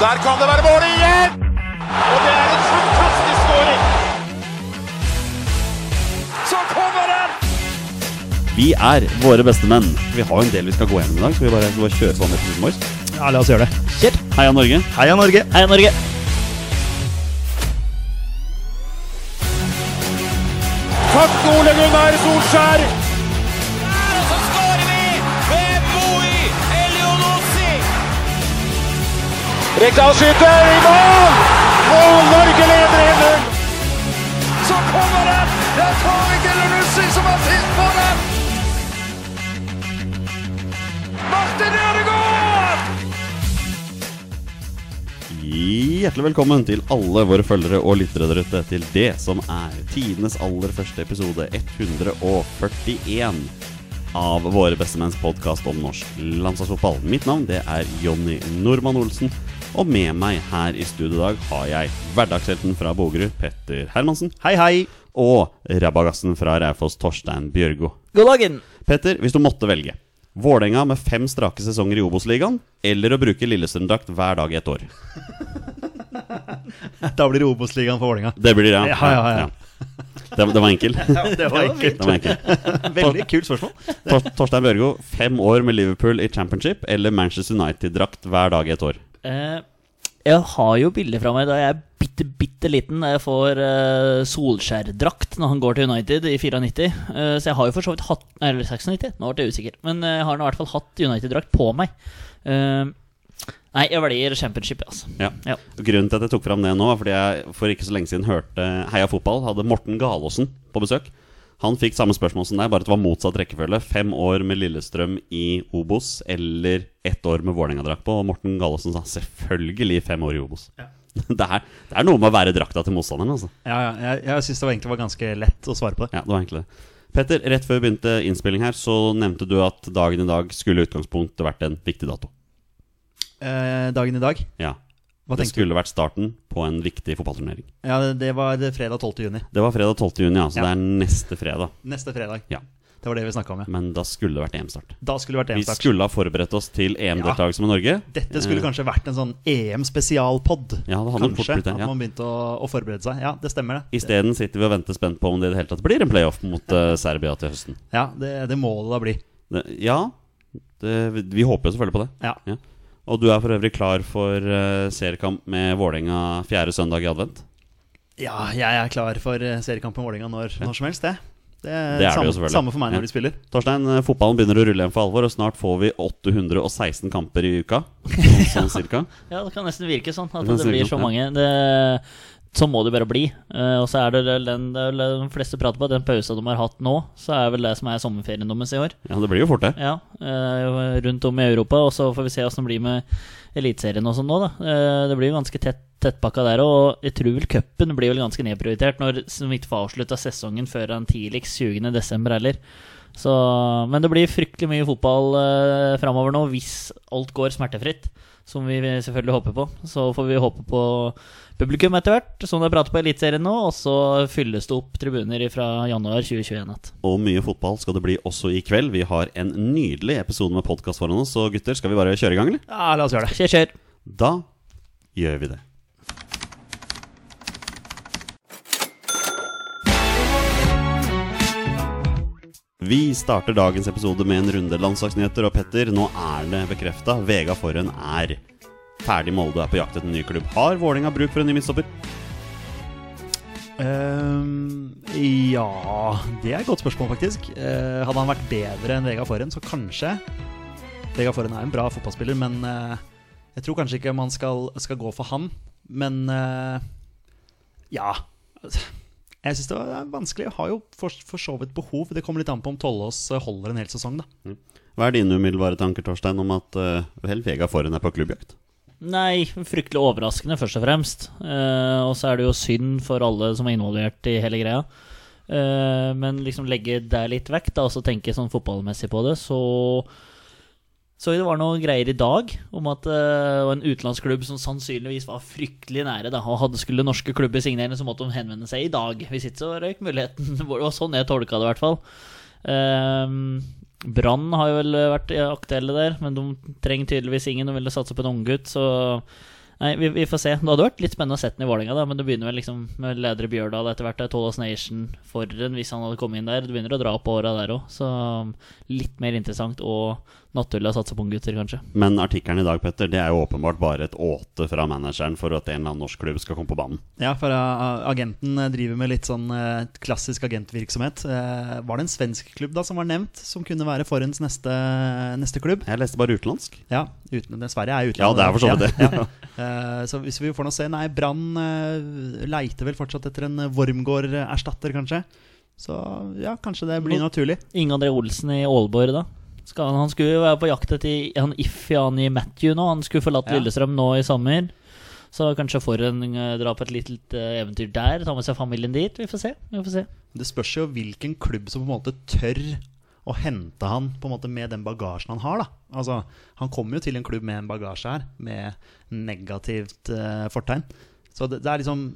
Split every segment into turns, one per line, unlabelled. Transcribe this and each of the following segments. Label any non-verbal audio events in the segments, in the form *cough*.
Der kan det være mål igjen! Og det er en fantastisk skåring! Så kommer den!
Vi er våre beste menn. Vi har jo en del vi skal gå gjennom i dag. Skal vi bare, skal vi bare kjøre på med episoden vår?
Ja, la oss gjøre det.
Kjør! Heia Norge!
Heia Norge!
Heia Norge!
Takk, Ole Gunnar Solskjær!
Og så skårer vi ved Boi Elionossi!
Rekdal skyter i mål! Og Norge leder 1-0!
Så kommer den! Det er Tariq Elionossi som har sist på den! Martin Ødegaard!
Hjertelig velkommen til alle våre følgere og lyttere der ute til det som er tidenes aller første episode 141 av Våre bestemenns podkast om norsk landslagsfotball. Mitt navn det er Jonny Normann Olsen, og med meg her i studio i dag har jeg hverdagshelten fra Bogerud, Petter Hermansen,
Hei, hei!
og rabagassen fra Raufoss, Torstein Bjørgo.
God dagen!
Petter, hvis du måtte velge Vålerenga med fem strake sesonger i Obos-ligaen, eller å bruke Lillestrøm-drakt hver dag i et år.
Da blir det Obos-ligaen for Vålerenga.
Det blir det, ja.
Ja, ja, ja.
Det, det var enkel. *laughs*
Det var
Det
enkelt.
var enkel.
Veldig kult spørsmål.
Tor, Torstein Børgo, fem år med Liverpool i championship eller Manchester United-drakt hver dag i et år.
Eh, jeg har jo bilder fra meg da jeg er bitte, bitte liten. da Jeg får eh, Solskjær-drakt når han går til United i 94. Eh, så jeg har jo for så vidt hatt nei, Eller 96, nå ble jeg usikker. Men eh, jeg har nå i hvert fall hatt United-drakt på meg. Eh, nei, jeg velger championship, altså.
Ja.
Ja.
Grunnen til at jeg tok fram det nå, var fordi jeg for ikke så lenge siden hørte Heia Fotball hadde Morten Galaasen på besøk. Han fikk samme spørsmål som deg, bare at det var motsatt rekkefølge. Fem år med Lillestrøm i Obos eller ett år med Vålerenga-drakt på. Og Morten Galaasen sa selvfølgelig fem år i Obos. *laughs* Det, er, det er noe med å være drakta til motstanderen, altså.
Ja, ja, jeg jeg syns det var egentlig var ganske lett å svare på det.
Ja, det var egentlig det. Petter, rett før vi begynte innspilling her, så nevnte du at dagen i dag skulle i utgangspunktet vært en viktig dato.
Eh, dagen i dag,
Ja.
hva
Det
tenkte du?
skulle vært starten på en viktig fotballturnering.
Ja, det var fredag 12. juni.
Det var fredag 12. juni, ja, så
Ja.
det er neste fredag.
Neste fredag.
Ja.
Det var det vi snakka om, ja.
Men da skulle det vært EM-start.
Da skulle det vært
Vi
EM-start.
skulle ha forberedt oss til EM-deltakelse med Norge.
Dette skulle
Eh,
kanskje vært en sånn EM-spesialpod.
Ja, det hadde nok fort
Kanskje.
blitt det, ja.
At man begynte å, å forberede seg. Ja, det stemmer, det.
Isteden sitter vi og venter spent på om det i det hele tatt blir en playoff mot eh, Serbia til høsten.
Ja, det, det må det da bli.
Det, ja, det, vi- vi håper jo selvfølgelig på det.
Ja.
Ja. Og du er for øvrig klar for eh, seriekamp med Vålerenga fjerde søndag i advent?
ja, jeg er klar for eh, seriekamp med Vålerenga når, når som helst, det. Det er,
Det er det
samme,
jo selvfølgelig.
samme for meg
Ja.
når de spiller.
Torstein, eh, fotballen begynner å rulle igjen for alvor, og snart får vi 816 kamper i
*laughs*
uka. Sånn, sånn cirka.
Ja, det kan nesten virke sånn. At
Det kan
det,
virke
blir
sånn,
så
ja.
mange. Det, sånn må det bare bli. Eh, og så er det vel den det er vel de fleste prater på, den pausa de har hatt nå, så er vel det som er sommerferien deres i år.
Ja, det blir jo fort, det.
Ja, eh, rundt om i Europa, og så får vi se åssen det blir med Eliteserien og sånn nå, da. Eh, det blir jo ganske tett tettpakka der, og jeg tror vel cupen blir vel ganske nedprioritert når som ikke får avslutta sesongen før han tidligst 20.12. heller. Så, men det blir fryktelig mye fotball eh, framover nå, hvis alt går smertefritt. Som vi selvfølgelig håper på. Så får vi håpe på publikum etter hvert, som det er prat på Eliteserien nå. Og så fylles det opp tribuner fra januar 2021 igjen.
Og mye fotball skal det bli også i kveld. Vi har en nydelig episode med podkast foran oss, så gutter, skal vi bare kjøre i gang, eller?
Ja, la oss gjøre det.
Kjør, kjør!
Da gjør vi det. Vi starter dagens episode med en runde landslagsnyheter, og Petter, nå er det bekrefta. Vega Forhen er ferdig i Molde, er på jakt etter en ny klubb. Har Vålerenga bruk for en ny midtstopper?
Ehm, ja Det er et godt spørsmål, faktisk. Eh, hadde han vært bedre enn Vega Forhen, så kanskje. Vega Forhen er en bra fotballspiller, men eh, jeg tror kanskje ikke man skal, skal gå for han. Men eh, ja Jeg syns det er vanskelig. Jeg har jo for, for så vidt behov. Det kommer litt an på om Tollås eh, holder en hel sesong, da.
Hva er dine umiddelbare tanker, Torstein, om at eh, vel, Vega Forhen er på klubbjakt?
Nei, fryktelig overraskende, først og fremst. Eh, og så er det jo synd for alle som er involvert i hele greia. Eh, men liksom legge det litt vekk, da, og så tenke sånn fotballmessig på det, så så det var noe greier i dag om at eh, det var en utenlandsk klubb som sannsynligvis var fryktelig nære. Da, og hadde skulle norske klubber signere, så måtte de henvende seg i dag. Hvis ikke så røyk muligheten. *laughs* Det var sånn jeg tolka det, i hvert fall. Ehm, Brann har jo vel vært aktuelle der, men de trenger tydeligvis ingen. De ville satse på en unggutt, så Nei, vi, vi får se. Det hadde vært litt spennende å sette den i Vålerenga, da, men det begynner vel liksom med ledere Bjørdal etter hvert. Det er Tollas Nation foran hvis han hadde kommet inn der. Det begynner å dra opp åra der òg, så litt mer interessant og naturlig å satse på unggutter, kanskje.
Men artikkelen i dag, Petter, det er jo åpenbart bare et åte fra manageren for at en eller annen norsk klubb skal komme på banen.
Ja, for uh, agenten eh, driver med litt sånn eh, klassisk agentvirksomhet. Eh, var det en svensk klubb da som var nevnt, som kunne være Forens neste, neste klubb?
Jeg leste bare utenlandsk.
Ja, uten, det- Sverige er utlandet.
Ja, det er for så vidt
Ja,
det.
ja. *laughs* Eh, så hvis vi får nå se Nei, Brann eh, leiter vel fortsatt etter en Wormgård-erstatter, kanskje. Så ja, kanskje det blir
Nå-
naturlig.
Inge André Olsen i Aalborg, da. Skal han, han skulle jo være på jakt etter han Iffy han i Matthew nå. Han skulle forlatt
Ja.
Lillestrøm nå i sommer. Så kanskje får en eh, dra på et lite eh, eventyr der. Ta med seg familien dit. Vi får se. Vi får se.
Det spørs jo hvilken klubb som på en måte tør å hente han på en måte med den bagasjen han har. da Altså, Han kommer jo til en klubb med en bagasje her, med negativt eh, fortegn. Så det, det er liksom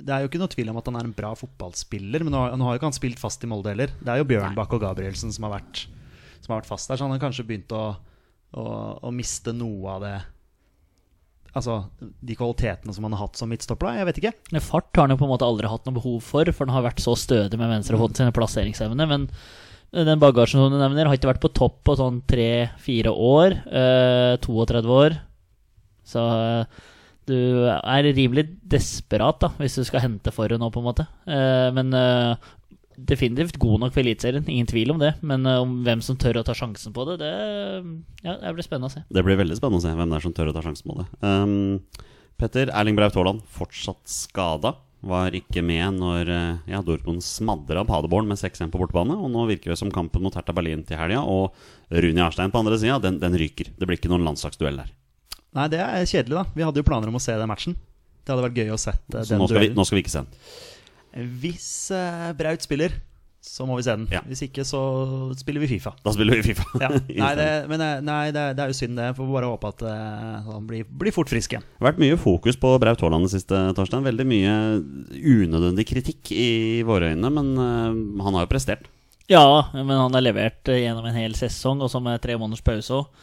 Det er jo ikke noe tvil om at han er en bra fotballspiller, men nå, har- nå har jo ikke han spilt fast i Molde heller. Det er jo Bjørnbakk og Gabrielsen som har vært Som har vært fast der, så han har kanskje begynt å, å, å miste noe av det Altså de kvalitetene som han har hatt som midtstopper, da. Jeg vet ikke.
Men Fart har han jo på en måte aldri hatt noe behov for, for han har vært så stødig med venstrefoten sin og plasseringsevne. Men eh, den bagasjen som du nevner, har ikke vært på topp på sånn tre-fire år. Eh, 32 år. Så eh, du er rimelig desperat da, hvis du skal hente Forhud nå, på en måte. Eh, men eh, definitivt god nok for Eliteserien, ingen tvil om det. Men eh, om hvem som tør å ta sjansen på det, det, ja, det blir spennende å se.
*laughs* Det blir veldig spennende å se hvem det er som tør å ta sjansen på det. Ehm, Petter Erling Braut Haaland, fortsatt skada. Var ikke med når eh, ja, Dortmund smadra Paderborn med 6-1 på bortebane. Og nå virker det som kampen mot Hertha Berlin til helga og Rune Jarstein på andre sida, den, den ryker. Det blir ikke noen landslagsduell der.
Nei, det er kjedelig, da. Vi hadde jo planer om å se den matchen. Det hadde vært gøy å sett eh,
Så
den
nå skal, vi,
duellen.
nå skal vi ikke se den.
Hvis eh, Braut spiller, så må vi se den.
Ja.
Hvis ikke, så spiller vi Fifa.
Da spiller vi Fifa. *laughs*
Ja. Nei,
isteden.
det, men eh, nei, det, det er jo synd, det. Får bare håpe at eh, han blir, blir fort frisk igjen.
Det har vært mye fokus på Braut Haaland det siste, Torstein. Veldig mye unødvendig kritikk i våre øyne, men eh, han har jo prestert.
Ja, men han har levert eh, gjennom en hel sesong, og så med tre måneders pause òg.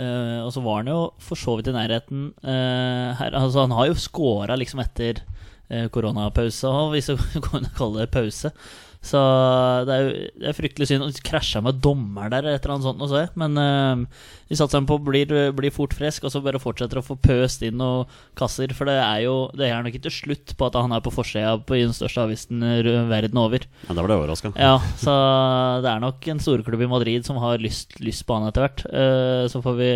og så var han jo for så vidt i nærheten eh, her. Altså, han har jo scora liksom etter eh, koronapause, og hvis *laughs* du kan kalle det pause. Så det er jo det er fryktelig synd. Han krasja med dommer der, eller et eller annet sånt. Og så, men eh, vi satser han på blir, blir fort frisk, og så bare fortsetter å få pøst inn noen kasser. For det er jo Det er nok ikke til slutt på at han er på forsida på- i den største avisen eh, verden over.
Ja, da ble jeg overraska.
Ja, så det er nok en storklubb i Madrid som har lyst, lyst på han etter hvert. Eh, Så får vi,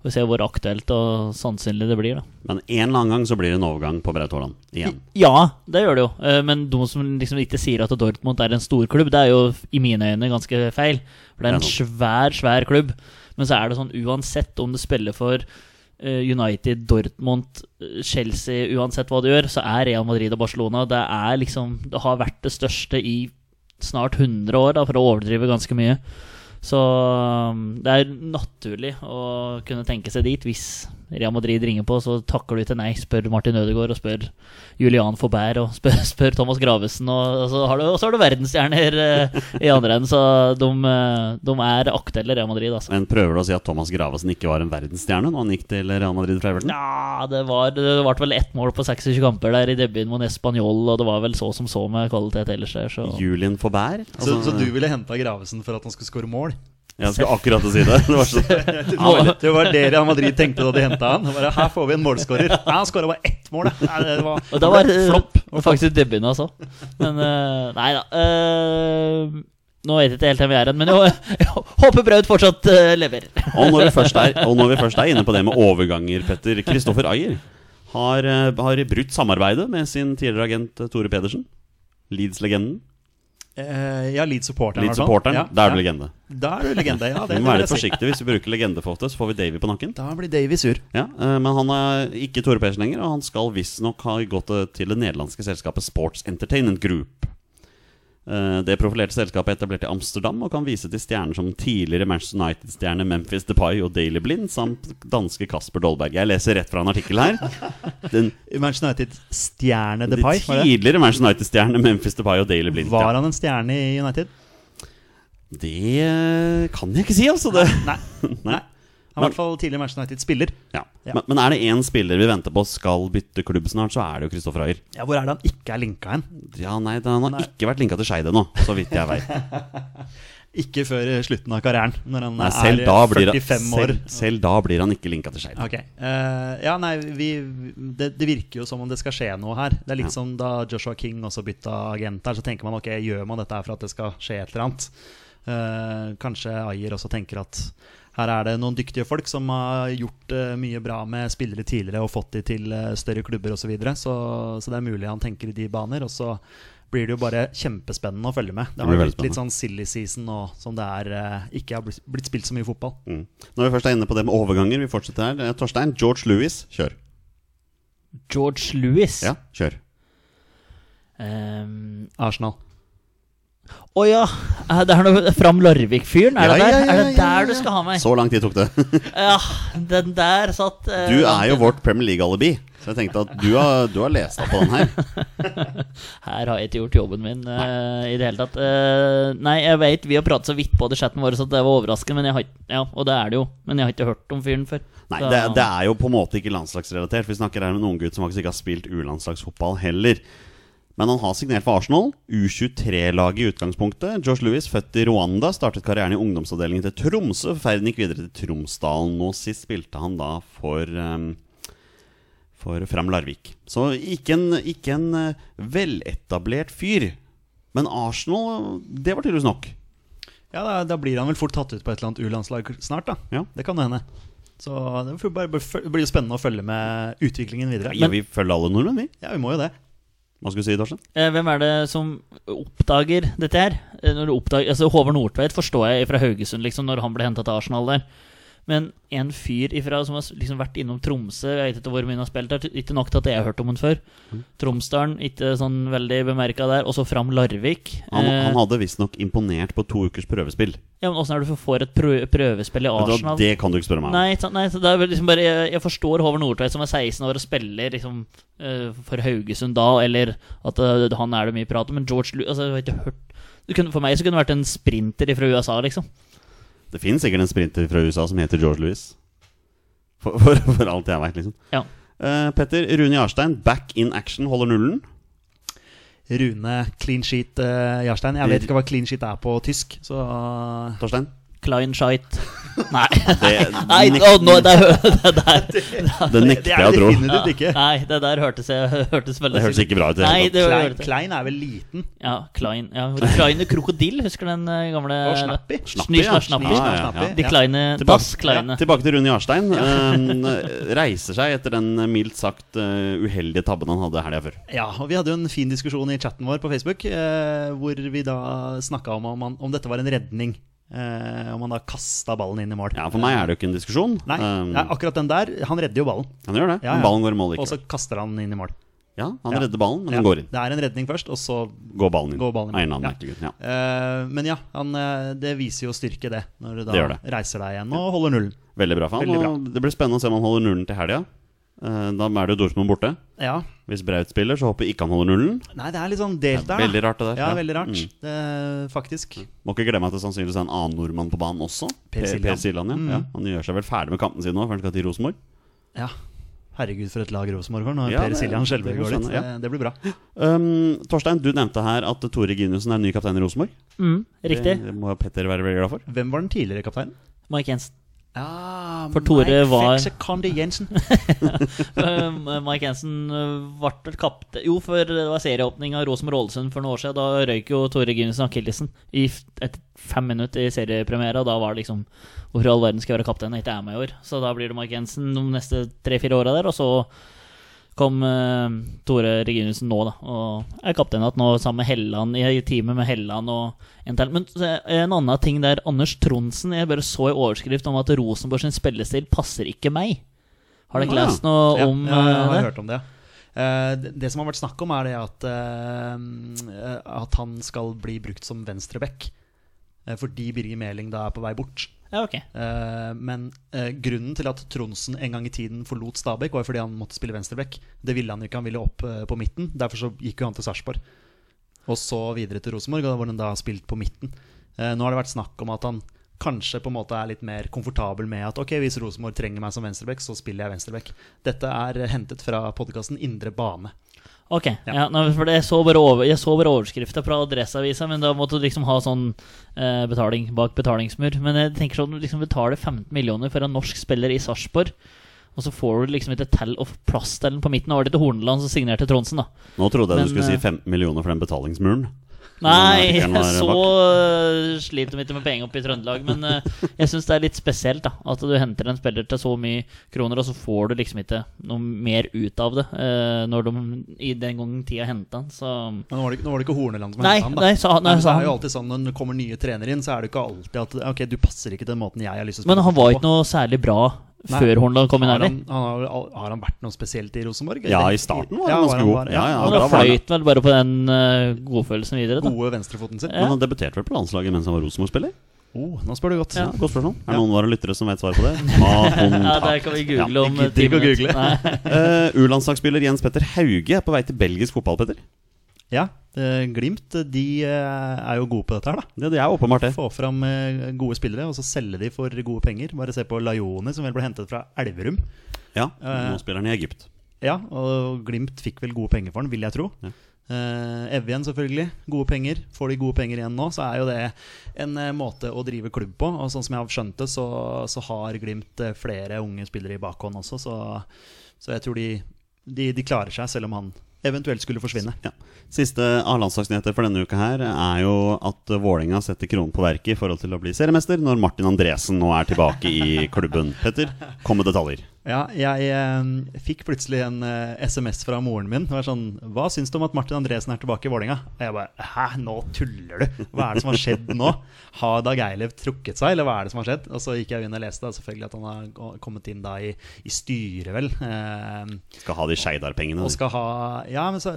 får vi se hvor aktuelt og sannsynlig det blir, da.
Men en eller annen gang så blir det en overgang på Braut Haaland igjen.
Ja, det gjør det jo. Eh, Men de som liksom ikke sier at Dortmund er en storklubb, det er jo i mine øyne ganske feil. For det er en
Det
svær, svær klubb. Men så er det sånn uansett om du spiller for eh, United, Dortmund, eh, Chelsea, uansett hva du gjør, så er Real Madrid og Barcelona Det er liksom Det har vært det største i snart 100 år, da, for å overdrive ganske mye. Så um, det er naturlig å kunne tenke seg dit hvis Real Madrid ringer på, så takker du ikke nei. Spør Martin Ødegaard, og spør Julian Faubert, og spør, *laughs* spør Thomas Gravesen. Og, og, så har du, og så har du verdensstjerner eh, i andre enden, så de, eh, de er aktuelle Real Madrid, altså.
Men prøver du å si at Thomas Gravesen ikke var en verdensstjerne når han gikk til Real Madrid fra Everton?
Ja, det var Det ble vel ett mål på 26 kamper der i debuten mot Español, og det var vel så som så med kvalitet ellers der, så
Julian Faubert?
Så,
Altså,
så du ville henta Gravesen for at han skulle skåre
*laughs*
mål?
Jeg skulle akkurat til å si det. det var så, *laughs*
Det var det Real Madrid tenkte da de henta han. Det Bare, her får vi en
*laughs*
målskårer. Nei, Han skåra bare ett mål, da. Nei, det var,
Og da *laughs* var det
flopp.
faktisk debuten også. Men eh, nei da. eh, nå vet jeg ikke helt hvem vi er hen, men *laughs* jeg, jeg håper Braut fortsatt eh, lever.
og, når vi først er, og når vi først er inne på det med overganger, Petter. Kristoffer Ayer har, eh, har brutt samarbeidet med sin tidligere agent eh, Tore Pedersen. Leeds-legenden.
Eh, ja, Leeds-supporteren. i hvert fall.
Leeds-supporteren.
Ja,
Da er du
ja.
legende.
Da er du legende,
*laughs*
ja.
Vi
Det,
må være litt
det vil jeg si.
forsiktige hvis vi bruker legende for ofte, så får vi Davy på nakken.
Da blir Davy sur.
Ja, eh, Men han er ikke Tore Persen lenger, og han skal visstnok ha gått eh, til det nederlandske selskapet Sports Entertainment Group. Eh, Det profilerte selskapet er etablert i Amsterdam og kan vise til stjerner som tidligere Manchester United-stjerne Memphis Depay og Daily Blind samt danske Kasper Dolberg. Jeg leser rett fra en artikkel
*laughs*
her. Den
Manchester United-stjerne
de
Depay. Var, det?
tidligere Manchester United-stjerne Memphis Depay og Daily Blind.
var
ja.
han en stjerne i United?
Det eh, kan jeg ikke si, altså. Det.
Nei.
*laughs* Nei.
Han er i hvert fall tidligere Manchester United-spiller.
Ja.
Ja.
Men, men er det én spiller vi venter på skal bytte klubb snart, så er det jo Kristoffer Ayer.
Ja, Hvor er det han ikke er linka hen?
Ja, nei, han har
Nei.
ikke vært linka til Skeid ennå, så vidt jeg
*laughs*
vet.
Ikke før eh, slutten av karrieren, når han
Nei,
er
selv, da blir han,
45 år.
selv, selv da blir han ikke linka til Skeid.
Ok. Eh, ja, nei, vi, det, det virker jo som om det skal skje noe her. Det er litt
Ja.
som da Joshua King også bytta agent her, så tenker man ok, gjør man dette her for at det skal skje et eller annet? Eh, kanskje Ayer også tenker at her er det noen dyktige folk som har gjort eh, mye bra med spillere tidligere og fått de til eh, større klubber osv., så, videre. så så det er mulig han tenker i de baner. Og så blir det jo bare kjempespennende å følge med. Det
Det
har
blir veldig
blitt litt sånn silly season nå som det er eh, ikke har blitt- blitt spilt så mye fotball.
Mm. Når vi først er inne på det med overganger, vi fortsetter her. Eh, Torstein, George Lewis, kjør.
George Lewis.
Ja, kjør.
Ehm,
Arsenal.
Å ja! eh, Det er noe Fram Larvik-fyren, er
Ja,
det der?
ja, ja,
er det
ja,
der
ja,
du skal ha meg?
Så lang tid tok
*laughs*
det.
Ja, den der satt eh,
Du er jo
langt
vårt Premier League-alibi, så jeg tenkte at du har, du har lest deg på den her.
inne. Her har jeg ikke gjort jobben min eh, i det hele tatt. Eh, nei, jeg vet vi har pratet så vidt på det i chatten vår, så det var overraskende, men jeg har, ikke- ja, og det er det jo. Men jeg har ikke hørt om fyren før.
Nei,
Så-
det, det er jo på en måte ikke landslagsrelatert. Vi snakker her med en unggutt som faktisk ikke har spilt U-landslagsfotball heller. Men han har signert for Arsenal, U23-laget i utgangspunktet. George Lewis, født i Rwanda, startet karrieren i ungdomsavdelingen til Tromsø. Ferden gikk videre til Tromsdalen. Nå sist spilte han da for ehm, for Fram Larvik. Så ikke en, ikke en eh, veletablert fyr. Men Arsenal, det var tydeligvis nok.
Ja, da, da blir han vel fort tatt ut på et eller annet U-landslag snart, da.
Ja.
Det kan jo hende. Så det får bare- bare føl- det blir jo spennende å følge med utviklingen videre.
Ja,
Men,
vi følger alle nordmenn, vi.
ja, vi må jo det.
Hva skulle du si, Torstein?
Eh, Hvem er det som oppdager dette her? Eh, Når du oppdager, altså Håvard Nordtveit forstår jeg fra Haugesund, liksom, når han ble henta til Arsenal der. Men en fyr ifra som har s- liksom vært innom Tromsø Jeg vet ikke hvor mye han har spilt der. Ikke nok til at jeg har hørt om han før.
Mm.
Tromsdalen, ikke sånn veldig bemerka der. Og så fram Larvik.
Han,
Eh,
han hadde visstnåk imponert på to ukers prøvespill.
Ja, men Åssen er det du får et prø prøvespill i
Vet du hva,
Arsenal?
Det kan du ikke spørre meg om.
Nei, ikke sant, nei så det er vel liksom bare, jeg, jeg forstår Håvard Nordtveit som er 16 år og spiller liksom, eh, for Haugesund da, eller at eh, han er det mye prat om, men George Lu altså, jeg har ikke hørt det kunne, For meg så kunne det vært en sprinter fra USA, liksom.
Det finnes sikkert en sprinter fra USA som heter George Lewis. For, for, for alt jeg veit, liksom.
Ja.
Eh, Petter, Rune Jarstein, back in action, holder nullen.
Rune clean sheet eh, Jarstein. Jeg vet ikke hva clean sheet er på tysk, så
Torstein?
Klein Scheit.
*laughs*
Nei, *laughs*
Det,
nei
nek-
å, nå, det, er- det der
*laughs*
*laughs*
det
Det
nekter
er
jeg å tro.
definitivt ikke.
Nei, det der hørtes, jeg- hørtes veldig
Det hørtes ikke bra ut. i det
Nei,
hele tatt.
det var
Klein,
det.
Klein er vel liten?
Ja, Klein. Ja, Kleine krokodille, husker du den eh, gamle
Og snappy.
Snappy, ja.
Snysj, snappi.
Ja, ja, ja.
De Kleine
Tilbake-
Das Kleine.
Tilbake til Rune Jarstein. Eh, reiser seg etter den eh, mildt sagt eh, uheldige tabben han hadde helga før.
Ja, og Vi hadde jo en fin diskusjon i chatten vår på Facebook, eh, hvor vi da snakka om om, han, om dette var en redning. Eh, om han da kasta ballen inn i mål.
Ja, For meg er det jo ikke en diskusjon.
Nei,
Eh,
ja, akkurat den der. Han redder jo ballen,
han gjør det.
Ja, ja.
Ballen går i mål
og så
likevel.
kaster han den inn i mål.
Ja, han
Ja.
redder ballen, men
Ja,
den går inn.
Det er en redning først, og så
Går ballen inn.
Går ballen
Av
inn.
en eller annen
Ja.
merkelig grunn, ja.
Eh, Men ja, han, eh, det viser jo styrke, det. Når du da
Det gjør det.
reiser deg igjen og holder nullen.
Veldig bra for han.
Veldig bra.
Og det blir spennende å se om han holder nullen til helga. Eh, Da er det jo Dortmund borte.
Ja.
Hvis Braut spiller, så håper jeg ikke han holder nullen.
Nei, det er litt sånn
Det
delt
er
der. da.
veldig rart, det der.
Ja, veldig rart.
Mm.
Det, faktisk.
Må ikke glemme at det sannsynligvis er en annen nordmann på banen også.
Per Siljan.
Per Siljan ja.
Mm.
ja. Han gjør seg vel ferdig med kampen sin nå, før han skal til Rosenborg.
Ja. Herregud, for et lag Rosenborg har når
Ja,
Per
det-
Siljan skjelver
det kan
går litt.
skjønne, ja.
Eh, Det blir bra.
Um, Torstein, du nevnte her at Tore Giniussen er ny kaptein i Rosenborg.
Mm, riktig.
Det må Petter være veldig glad for.
Hvem var den tidligere kapteinen?
Mike Jensen.
Ja,
For Tore
Ah, Mike
var-
Fetchekandi Jensen.
Eh, Mike Jensen eh, vart vel kapte... Jo, for det var serieåpning av Rosenborg Ålesund for noen år siden. Da røyk jo Tore Gunnissen akillesen i f- et fem minutter i seriepremiere. Og da var det liksom Hvorfor i all verden skal jeg være kaptein når jeg ikke er med i år? Så da blir det Mike Jensen de neste tre-fire åra der, og så kom eh, Tore Reginussen nå, da. Og er kaptein igjen nå sammen med Helland, i teamet med Helland og en til. Men så er- en annen ting der, Anders Tronsen, jeg bare så i overskrift om at Rosenborg sin spillestil passer ikke meg. Har dere
Ah, ja.
lest noe
Ja,
om
ja, jeg
eh,
har
det?
hørt om det. ja. Eh, det- Det som har vært snakk om, er det at, eh, at han skal bli brukt som venstreback. eh, Fordi Birger Meling da er på vei bort.
Ja, ok.
Eh, Men eh, grunnen til at Tronsen en gang i tiden forlot Stabæk, var fordi han måtte spille venstreback. Det ville han jo ikke, han ville opp eh, på midten. Derfor så gikk jo han til Sarpsborg. Og så videre til Rosenborg, og da var han da spilt på midten. Eh, Nå har det vært snakk om at han kanskje på en måte er litt mer komfortabel med at ok, hvis Rosenborg trenger meg som venstreback, så spiller jeg venstreback. Dette er hentet fra podkasten Indre bane.
Ok, ja. nei, for det- jeg så bare, over, jeg så bare overskrifta fra Adresseavisa, men da måtte du liksom ha sånn eh, betaling bak betalingsmur. Men jeg tenker sånn, du liksom betaler 15 millioner for en norsk spiller i Sarpsborg, og så får du liksom ikke tell of plastelen på midten. Da var det til Horneland som signerte Trondsen, da.
Nå trodde jeg
Men,
du skulle si
eh,
15 millioner for den betalingsmuren.
Nei,
Den artikkelen var
så
bak.
eh, sliter de ikke med penger oppe i Trøndelag. Men eh, jeg syns det er litt spesielt da at du henter en spiller til så mye kroner, og så får du liksom ikke noe mer ut av det eh, når de i den gangen tida henta han. Så
Men nå var det, ikke- nå var det ikke Horneland som
Nei,
hentet han, da.
nei, sa, nei,
Men det
sa
er jo
han.
alltid sånn når det kommer nye trenere inn, så er det ikke alltid at Ok, du passer ikke til den måten jeg har lyst til å
Men han var ikke
fotball
noe særlig bra
Nei.
før Hornland kom inn
Har
her.
han, han har, har han vært noe spesielt i Rosenborg?
Ja,
eller?
i starten var han ganske god.
var-
Ja, ja,
Han
han
da
da
var han-
fløyt vel bare på den eh, godfølelsen videre,
var
da.
gode venstrefoten sin.
Ja.
Men han debuterte vel på landslaget mens han var Rosenborg-spiller?
Oh, nå spør du godt.
Ja.
Ja.
Godt spørsmål. Er det
Ja.
noen av våre lyttere som vet svaret på det?
*laughs*
Ah, hun,
Ja, der kan vi google om
vi
eh,
gidder ikke å
timen.
google.
Nei.
Eh, U-landslagsspiller Jens Petter Hauge er på vei til belgisk fotball, Petter.
eh, Glimt eh, de eh, er jo gode på dette her, da.
Det, det er åpenbart det.
Få fram eh, gode spillere, og så selge de for gode penger. Bare se på Laione, som vel ble hentet fra Elverum.
Ja,
Eh,
Nå spiller han i Egypt.
Ja, og Glimt fikk vel gode penger for den, vil jeg tro.
Ja.
Eh, Evjen, selvfølgelig. Gode penger. Får de gode penger igjen nå, så er jo det en eh, måte å drive klubb på. Og sånn som jeg har skjønt det, så, så har Glimt eh, flere unge spillere i bakhånd også, så, så jeg tror de, de, de klarer seg, selv om han eventuelt skulle forsvinne.
Ja. Siste av landslagsnyheter for denne uka her er jo at Vålerenga setter kronen på verket i forhold til å bli seriemester når Martin Andresen nå er tilbake i klubben. Petter, kom med detaljer.
Ja, jeg eh, fikk plutselig en eh, SMS fra moren min. Det var sånn Hva syns du om at Martin Andresen er tilbake i Vålerenga? Og jeg bare Hæ, nå tuller du! Hva er det som har skjedd nå? Har Dag Eilev trukket seg, eller hva er det som har skjedd? Og så gikk jeg inn og leste da, selvfølgelig at han har gå- kommet inn da i, i styret, vel. Eh,
Skal ha de Skeidar-pengene.
og skal ha Ja, men så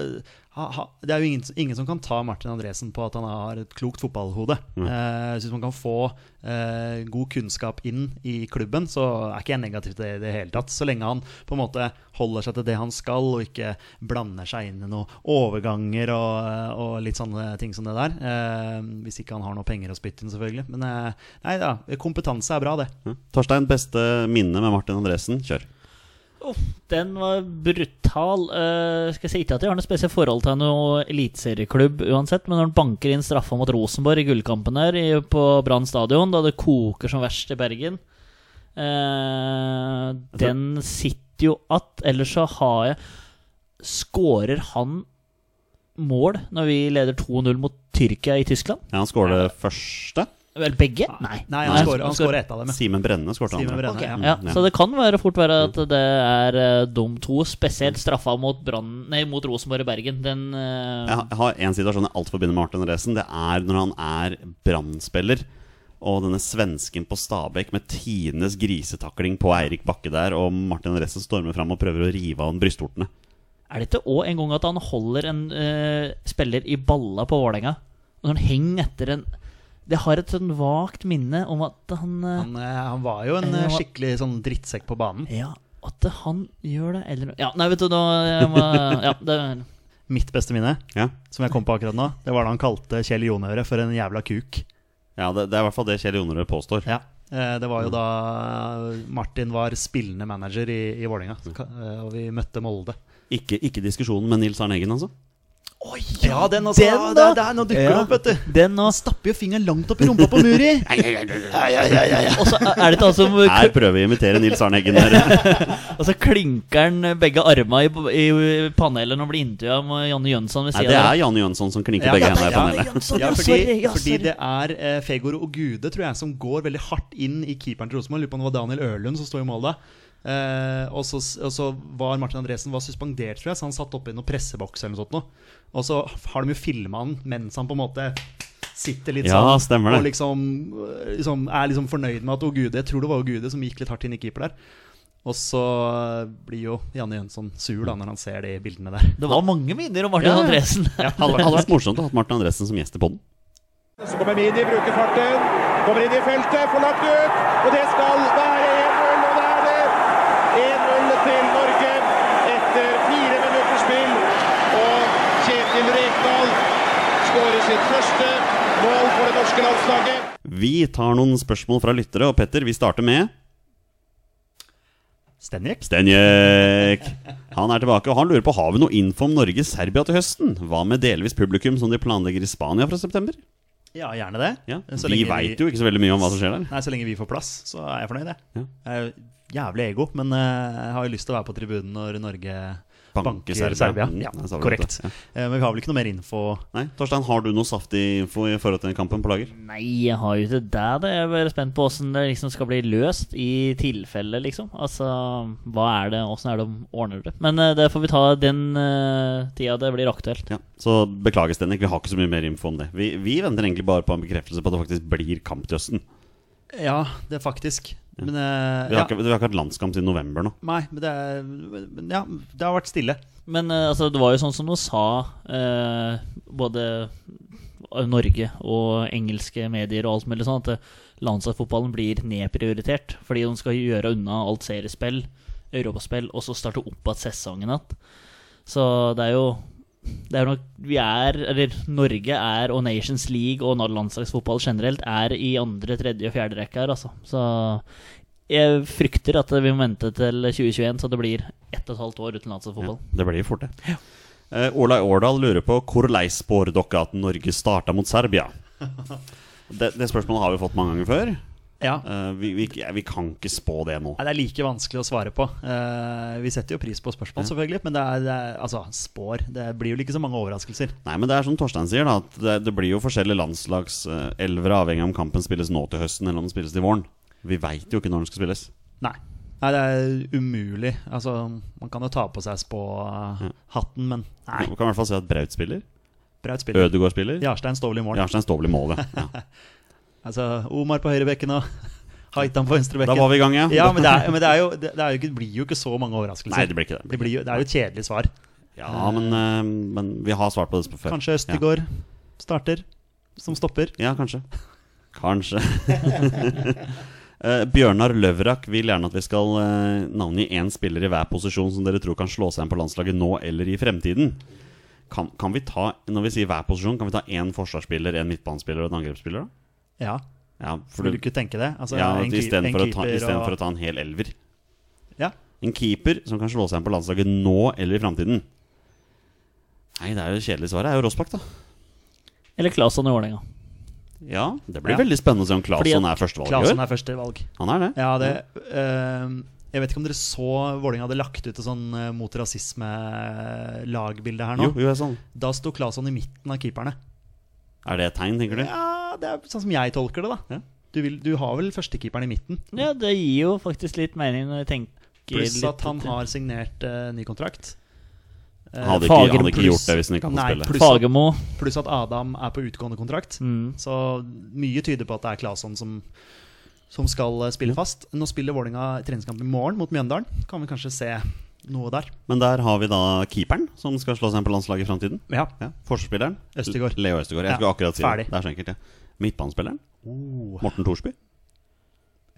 ha, ha, Det er jo ingen, ingen som kan ta Martin Andresen på at han har et klokt fotballhode.
Mm.
Eh, jeg synes man kan få eh, god kunnskap inn i klubben, så er ikke jeg negativ til det i det hele tatt. Så lenge han på en måte holder seg til det han skal, og ikke blander seg inn i noen overganger og, eh, og litt sånne ting som det der. Eh, hvis ikke han har noe penger å spytte inn, selvfølgelig. Men eh, nei da, kompetanse er bra, det.
Ja. Torstein, beste minne med Martin Andresen? Kjør.
Den var brutal. Eh, skal jeg si ikke at jeg har noe spesielt forhold til noen eliteserieklubb uansett, men når han banker inn straffa mot Rosenborg i gullkampen der i, på Brann stadion, da det koker som verst i Bergen eh, Den sitter jo att. Ellers så har jeg Skårer han mål når vi leder 2-0 mot Tyrkia i Tyskland?
Ja, han skåret første.
Vel, begge? Nei.
Ah, Nei, han skårer- han
skårer-
skårer ett av dem. ja.
Simen Brenne skåret
Simen
andre.
Brenne, ja.
ja,
Mm, ja. Mm.
så det kan være fort være at det er eh, de to, spesielt straffa mot, Brann- nei, mot Rosenborg i Bergen. Den eh,
Jeg ha- jeg har en situasjon jeg alt forbinder med Martin Andresen. Det er når han er brannspiller. Og denne svensken på Stabekk med tidenes grisetakling på Eirik Bakke der, og Martin Andresen stormer fram og prøver å rive av han brystvortene.
Er det ikke òg en gang at han holder en eh, spiller i balla på Vålerenga? Og når han henger etter en Det har et sånn vagt minne om at han, eh,
Han, eh, han var jo en eh, skikkelig sånn drittsekk på banen.
Ja, at han gjør det, eller noe Ja, nei, vet du, nå jeg må, Ja, det
*laughs*
Mitt beste minne,
Ja,
som jeg kom på akkurat nå, det var da han kalte Kjell Jonøre for en jævla kuk.
ja det, det er i hvert fall det Kjell Jonerød påstår.
Ja. eh, Det
Mm.
var jo da Martin var spillende manager i, i Vålerenga,
Mm.
så ka- eh, og vi møtte Molde.
Ikke, ikke diskusjonen med Nils Arne Eggen, altså.
Ja, den altså!
den da!
det- det er- nå dukker det opp, vet du!
Den nå.
Stapper jo fingeren langt opp i rumpa på Muri!
Og så er det ikke han som
Her prøver vi å imitere Nils Arne
*laughs*
Eggen. Der.
Og så klinker han begge armene i, i panelet når han blir intervjua med Janne Jønsson ved
Nei,
sida
det er Janne Jønsson som klinker
Ja,
begge
det er
hendene i
Janne
panelet.
Ja, fordi, fordi det er eh, Fegor og Gude tror jeg, som går veldig hardt inn i keeperen til Rosenborg. Lurer på om det var Daniel Ørlund som sto i mål da. Eh, og, så, og så var Martin Andresen var suspendert, tror jeg, så han satt oppe i noen presseboks. eller noe sånt nå. Og så har de jo filma han mens han på en måte sitter litt
Ja,
sånn
stemmer det.
og liksom, eh, liksom, er liksom fornøyd med at Ogude Jeg tror det var Ogude som gikk litt hardt inn i keeper der. Og så eh, blir jo Janne Jønsson sur da når han ser de bildene der.
Det var mange minner om
*laughs*
Martin
Ja, ja.
Andresen.
Hadde hadde vært morsomt å ha Martin Andresen som gjest i podden
Så kommer Midi, bruker farten. Kommer inn i feltet, får lagt ut. Og det skal være 1-0, og det er det. 1-0 til Norge etter fire minutters spill. Og Kjetil Rekdal skårer sitt første mål for det norske landslaget.
Vi tar noen spørsmål fra lyttere, og Petter, vi starter med
Stenjek?
Stenjek. Han er tilbake, og han lurer på har vi noe info om Norge-Serbia til høsten. Hva med delvis publikum som de planlegger i Spania fra september?
Ja, gjerne det.
Ja,
Så
Vi
lenge
veit jo ikke så veldig mye om hva som skjer der.
Nei, så lenge vi får plass, så er jeg fornøyd, jeg.
Ja.
Jeg er jo jævlig ego, men eh, jeg har jo lyst til å være på tribunen når Norge
Banker
banker,
Serbia.
Serbia.
Mm,
Ja,
jeg sa vel
korrekt.
dette,
Eh, men vi har vel ikke noe mer info
Nei, Torstein, har du noe saftig info i forhold til den kampen på lager?
Nei, jeg har jo ikke det. da. Jeg er bare spent på åssen det liksom skal bli løst i tilfelle, liksom. Altså, hva er det, åssen er det de ordner det? Men eh, det får vi ta den eh, tida det blir aktuelt.
Ja, Så beklager, Stenik, vi har ikke så mye mer info om det. Vi, vi venter egentlig bare på en bekreftelse på at det faktisk blir kamp til høsten.
Ja, det er faktisk. Men eh,
Vi har,
ja.
ikke, vi har ikke hatt landskamp siden november nå.
Nei, men det er men Ja, det har vært stille.
Men eh, altså, det var jo sånn som de sa, eh, både Norge og engelske medier og alt mulig sånn, at eh, landslagsfotballen blir nedprioritert fordi de skal gjøre unna alt seriespill, europaspill, og så starte opp igjen sesongen igjen. Så det er jo det er nok, vi er, eller Norge er, og Nations League og landslagsfotball generelt er i andre, tredje og fjerde rekke her, altså. Så jeg frykter at vi må vente til 2021, så det blir ett og et halvt år uten landslagsfotball.
Det blir fort, det. Eh, Olai Årdal lurer på hvor lei spår dere at Norge starta mot
*laughs*
Serbia? Det, det spørsmålet har vi fått mange ganger før.
Ja.
Eh, vi, vi, ja, vi kan ikke spå det nå.
Nei, det er like vanskelig å svare på. Eh, vi setter jo pris på spørsmål, selvfølgelig, men det er, det er altså, spår. Det blir jo ikke så mange overraskelser.
Nei, men det er som Torstein sier, da. At det, det blir jo forskjellige landslagselvere avhengig av om kampen spilles nå til høsten eller om den spilles til våren. Vi veit jo ikke når den skal spilles.
Nei. Nei, det er umulig. Altså, man kan jo ta på seg spåhatten, men nei.
Vi kan i hvert fall si at Braut spiller.
Braut spiller.
Ødegaard spiller.
Jarstein står vel i mål.
Jarstein Stovli i mål, ja.
*laughs*
ja.
Altså, Omar på høyrebekken og *laughs* Haitan
Da
på venstrebekken.
var vi i gang, ja.
Ja, men det, er, men det, er jo, det, det er jo ikke, blir jo ikke så mange overraskelser.
Nei, det blir ikke det.
Det, blir jo, det er jo et kjedelig svar.
Ja, men, eh, men vi har svart på det sp- før.
Kanskje Østegård starter, som stopper.
Ja, ja kanskje. Kanskje. *laughs* Eh, Bjørnar Løvrak vil gjerne at vi skal eh, navngi én spiller i hver posisjon som dere tror kan slå seg inn på landslaget nå eller i fremtiden. Kan, kan vi ta, Når vi sier hver posisjon, kan vi ta én forsvarsspiller, én midtbanespiller og en angrepsspiller? da?
Ja,
Ja, for
vil du
du,
ikke tenke det? Altså,
ja,
en keep- en
Istedenfor å, ta-
keeper
i stedet
og-
for å ta en hel elver.
Ja.
En keeper som kan slå seg inn på landslaget nå eller i fremtiden. Nei, det er jo det kjedelige svaret. Det er jo Rossbakk, da.
Eller Claesson i Vålerenga.
Ja, det blir
Ja.
veldig spennende å se om
Fordi
Claesson
at
er førstevalg i
Klasen
år.
er første valg.
Han er det.
Ja, det ehm, Jeg vet ikke om dere så Vålerenga hadde lagt ut et sånn eh, mot rasisme-lagbilde her nå.
Jo, jo, jeg sånn.
Da sto Claesson i midten av keeperne.
Er det et tegn, tenker du?
Ja, Det er sånn som jeg tolker det, da.
Ja.
Du, vil, du har vel førstekeeperen i midten.
Ja, det gir jo faktisk litt mening når jeg tenker
Pluss
litt
at han har signert eh, ny kontrakt. Eh,
Han hadde ikke, han
Fagermo
hadde ikke
pluss-
gjort det hvis han ikke hadde
Nei,
fått spille.
pluss-
Fagermo.
Pluss at Adam er på utgående kontrakt.
Mm.
Så mye tyder på at det er Claesson som, som skal eh, spille fast. Nå spiller Vålerenga treningskamp i morgen mot Mjøndalen. Kan vi kanskje se noe der.
Men der har vi da keeperen, som skal slå seg inn på landslaget i framtiden.
Ja.
Ja. Forsvarsspilleren.
Østegård.
Leo Østegård. Jeg
Ja,
skulle akkurat si det.
ferdig.
Det er så enkelt, ja. Midtbanespilleren.
Oh.
Morten Thorsby.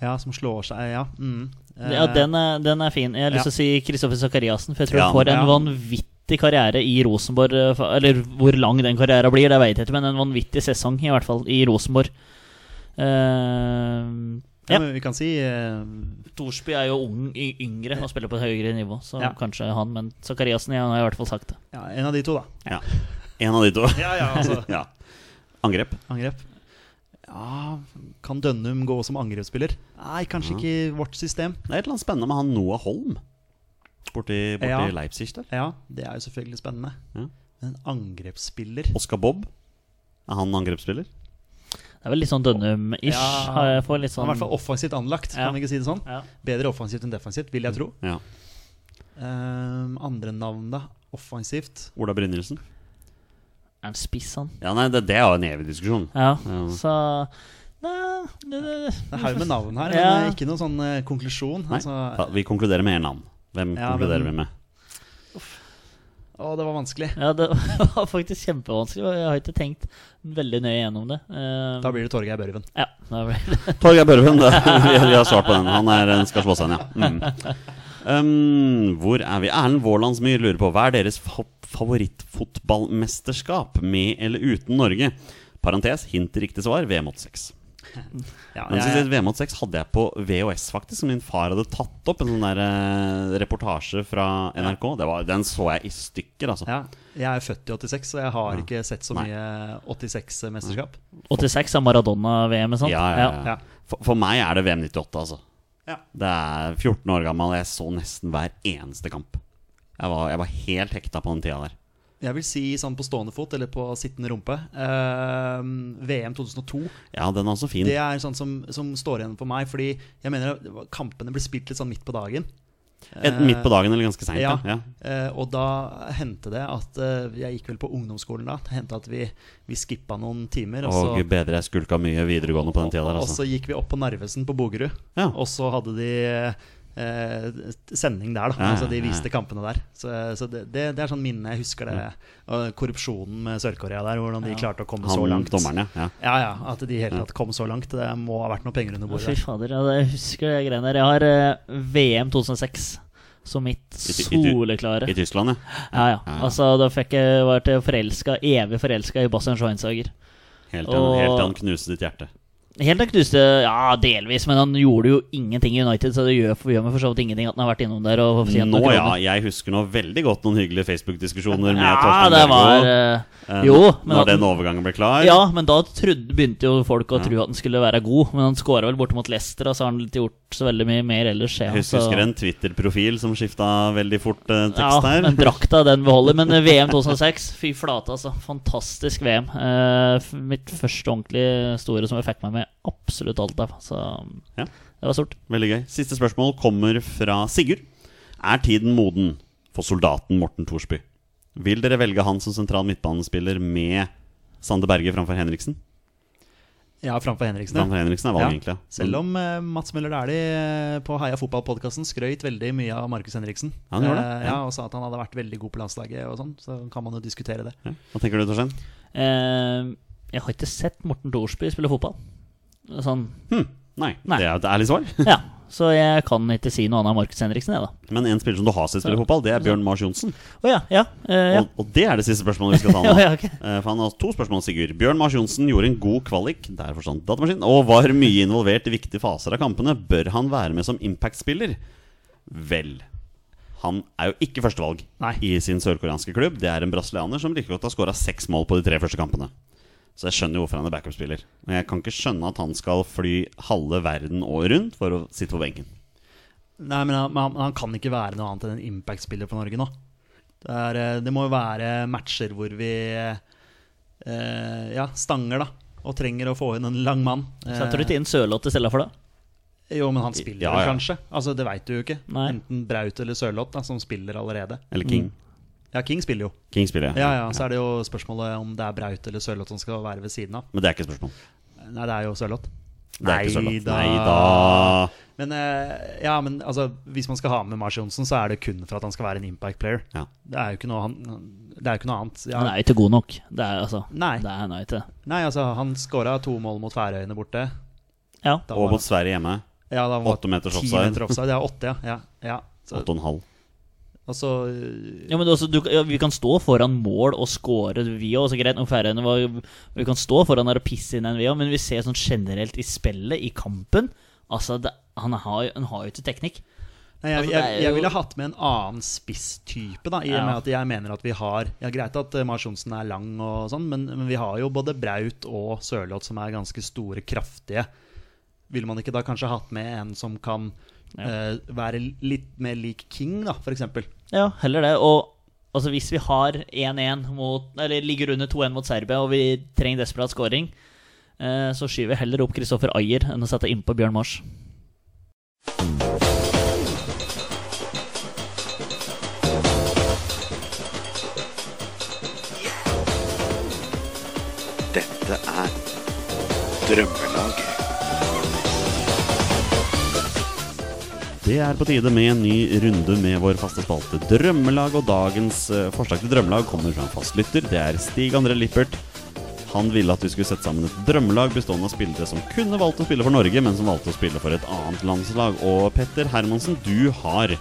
Ja, som slår seg Ja, mm. Eh,
Ja, den er, den er fin. Jeg har
Ja.
lyst til å si Kristoffer Sakariassen, for jeg tror
Ja,
han får en
ja.
vanvittig karriere i Rosenborg. eh, fa- Eller hvor lang den karrieren blir, det vet jeg ikke, men en vanvittig sesong i hvert fall i Rosenborg. Uh,
ja, men vi kan si eh,
Thorsby er jo ung, y- yngre og spiller på et høyere nivå, så
Ja.
kanskje han, men Sakariassen jeg har i hvert fall sagt det.
ja, en av de to, da.
Ja. En av de to.
Ja, ja, altså
*laughs* ja. Angrep.
Angrep. Ja, Kan Dønnum gå som angrepsspiller? Nei, kanskje ikke vårt system.
Det er et eller annet spennende med han Noah Holm borti, borti
Ja.
Leipzig der.
Ja, det er jo selvfølgelig spennende.
Ja.
Men en angrepsspiller
Oscar Bob. Er han angrepsspiller?
Det er vel litt sånn Dønnum-ish.
Ja.
har jeg- får litt
Han er i hvert
sånn
fall offensivt anlagt,
Ja.
kan vi ikke si det sånn?
ja.
Bedre offensivt enn defensivt, vil jeg tro.
Ja.
Ehm, andre navn, da? Offensivt?
Ola Brynildsen?
Er han spiss, han?
Ja, nei, det, det er jo en evig diskusjon.
Ja,
Ja.
så Nei, det, det, det.
Det er haug med navn
*laughs*
her,
Ja.
men eh, ikke noen sånn eh, konklusjon.
Nei,
Altså,
da, vi konkluderer med én navn. Hvem
Ja,
konkluderer
men-
vi med?
å, det var vanskelig.
Ja, det var faktisk kjempevanskelig. og Jeg har ikke tenkt veldig nøye gjennom det. Eh,
Da blir det Torgeir Børven.
ja, da blir det.
Torgeir Børven. det- *laughs* Vi, vi har svart på den. Han er, skal slå seg ned, ja. Mm. Um, hvor er vi? Erlend Vålandsmyr lurer på hva er deres fa favorittfotballmesterskap med eller uten Norge? Parentes, hint til riktig svar, VM86.
Ja,
Men
jeg,
jeg, VM 86 hadde jeg på VHS, faktisk, som min far hadde tatt opp. En sånn der, eh, reportasje fra NRK. Det var, den så jeg i stykker, altså.
ja, jeg er født i 86, så jeg har ikke sett så mye 86-mesterskap.
86 er Maradona-VM, sant?
Ja, ja, ja.
Ja.
For, for meg er det VM 98, altså.
Ja.
Det er 14 år gammel, og jeg så nesten hver eneste kamp. Jeg var, jeg var helt hekta på den tida der.
Jeg vil si sånn på stående fot, eller på sittende rumpe. eh, VM 2002
Ja, den er også fin.
Det er sånn som, som står igjen for meg, fordi jeg mener det var- kampene ble spilt litt sånn midt på dagen.
Enten midt på dagen eller ganske seint. Ja.
Ja.
Ja.
Eh, og da hendte det at eh, Jeg gikk vel på ungdomsskolen da. Det hendte at vi, vi skippa noen timer. Og så,
Og gud bedre, jeg skulka mye videregående på den tida der,
og
altså.
så gikk vi opp på Narvesen på Bogerud,
Ja.
og så hadde de eh, sending der, da.
Ja, ja,
altså de viste
ja.
kampene der. Så, så det, det, det er sånn minne jeg husker det. Og korrupsjonen med Sør-Korea der, hvordan de klarte å komme så
Han
langt.
dommeren, ja. ja.
Ja, ja, At de i hele tatt kom så langt. Det må ha vært noen penger under bordet.
Fy fader, ja, det- jeg husker de greiene der. Jeg har eh, VM 2006 som mitt
I- i- i-
soleklare.
I Tyskland, ja.
Ja, ja. Altså, da fikk jeg var til forelska, evig forelska i Bastian Schweinsteiger.
Helt til han-
Og-
helt til han knuste ditt hjerte.
Helt til han knuste Ja, delvis, men han gjorde jo ingenting i United, så det gjør, gjør meg for så vidt ingenting at han har vært innom der og fortjent
Nå,
noen
ja.
kroner.
Jeg husker nå veldig godt noen hyggelige Facebook-diskusjoner med
Ja,
Torstein
det
Bjørgo,
var eh,
sånn eh,
Jo, men
Når
at
den
han-
overgangen ble klar.
ja, men da trodde, begynte jo folk å tro at han skulle være god. Men han skåra vel borte mot Leicester, og så har han ikke gjort så veldig mye mer ellers. Ja,
Jeg husker,
så-
husker en Twitter-profil som skifta veldig fort eh, tekst
altså- ja,
her.
men drakta den beholder. Men eh, VM 2006, fy flate, altså. Fantastisk VM. Eh, f- mitt første ordentlig store som jeg fikk meg med absolutt alt av. Så
Ja.
det var stort.
Veldig gøy. Siste spørsmål kommer fra Sigurd. Er tiden moden for soldaten Morten Thorsby? Vil dere velge han som sentral midtbanespiller med Sande Berge framfor Henriksen?
Ja, framfor Henriksen. ja.
Framfor Henriksen er valget, egentlig. ja. Mm.
Selv om eh, Mats Møller Dæhlie eh, på Heia fotball-podkasten skrøt veldig mye av Markus Henriksen.
Han gjorde det,
Eh,
ja.
ja, Og sa at han hadde vært veldig god på landslaget og sånn. Så kan man jo diskutere det.
Ja. Hva tenker du, Torstein?
Eh, jeg har ikke sett Morten Thorsby spille fotball. Sånn,
Hm. Nei,
Nei.
det er jo et ærlig svar. *laughs*
ja. Så jeg kan ikke si noe annet om Markus Henriksen, jeg, da.
Men en spiller som du har sett spille fotball, det er Bjørn Mars Johnsen.
Å ja, ja. eh, ja.
Og, og det er det siste spørsmålet vi skal ta nå.
*laughs* Ja, ja, ok.
Eh, For han har to spørsmål, Sigurd. Bjørn Mars Johnsen gjorde en god kvalik der forstand datamaskin, og var mye involvert i viktige faser av kampene. Bør han være med som Impact-spiller? Vel Han er jo ikke førstevalg
Nei.
i sin sørkoreanske klubb. Det er en brasilianer som like godt har skåra seks mål på de tre første kampene. Så jeg skjønner jo hvorfor han er backup-spiller. Men jeg kan ikke skjønne at han skal fly halve verden og rundt for å sitte på benken.
Nei, men han, men han, han kan ikke være noe annet enn en Impact-spiller for Norge nå. Det, er, eh, det må jo være matcher hvor vi eh, eh, ja, stanger, da. Og trenger å få inn en lang mann.
Setter du ikke inn Sørloth i stedet for det?
Eh, jo, men han spiller
Ja,
vel
ja.
kanskje. Altså, Det veit du jo ikke.
Nei.
Enten Braut eller Sørloth, da, som spiller allerede.
Eller King.
Ja, King spiller jo.
King spiller,
Mm. Ja, altså. ja, Så er det jo spørsmålet om det er Braut eller Sørloth som skal være ved siden av.
Men det er ikke et spørsmål.
Nei, det er jo Sørloth.
Det er ikke Sørloth.
Neida.
Nei da.
Men, eh, ja, men altså, hvis man skal ha med Mars Johnsen, så er det kun for at han skal være en impact player.
Ja.
Det er jo ikke noe, han, det er jo ikke noe annet. Ja,
Han er jo ikke god nok. Det er altså
Nei.
Det er han jo ikke.
nei, altså, han skåra to mål mot Færøyene borte.
Ja.
Da
Og
var-
mot Sverige hjemme.
ja, da var
åtte meters
ti
offside.
meter offside. Ja, åtte, ja. ja, ja. Så,
Åtte og en halv.
og så eh,
Ja, men også, du, ja, vi kan stå foran mål og score, vi òg. Greit nok Færøyene var jo- Vi kan stå foran der og pisse inn en, vi òg, men vi ser sånn generelt i spillet, i kampen Altså, det, han, har, jo- han har jo ikke teknikk.
Nei, jeg,
Altså, det er
jeg, jeg
jo-
ville hatt med en annen spisstype, da, i og
Ja.
med at jeg mener at vi har Ja, Greit at eh, Mars Johnsen er lang, og sånn, men, men vi har jo både Braut og Sørloth som er ganske store, kraftige. Ville man ikke da kanskje hatt med en som kan eh, være litt mer lik King, da, for eksempel?
Ja, heller det. Og altså, hvis vi har 1-1 mot Eller ligger under 2-1 mot Serbia, og vi trenger desperat scoring, eh, så skyver jeg heller opp Kristoffer Ayer enn å sette innpå Bjørn Mars.
Dette er Drømmelaget.
Det er på tide med en ny runde med vår faste spalte Drømmelag. Og dagens eh, forslag til drømmelag kommer fra en fast lytter. Det er Stig André Lippert. Han ville at vi skulle sette sammen et drømmelag bestående av spillere som kunne valgt å spille for Norge, men som valgte å spille for et annet landslag. Og Petter Hermansen, du har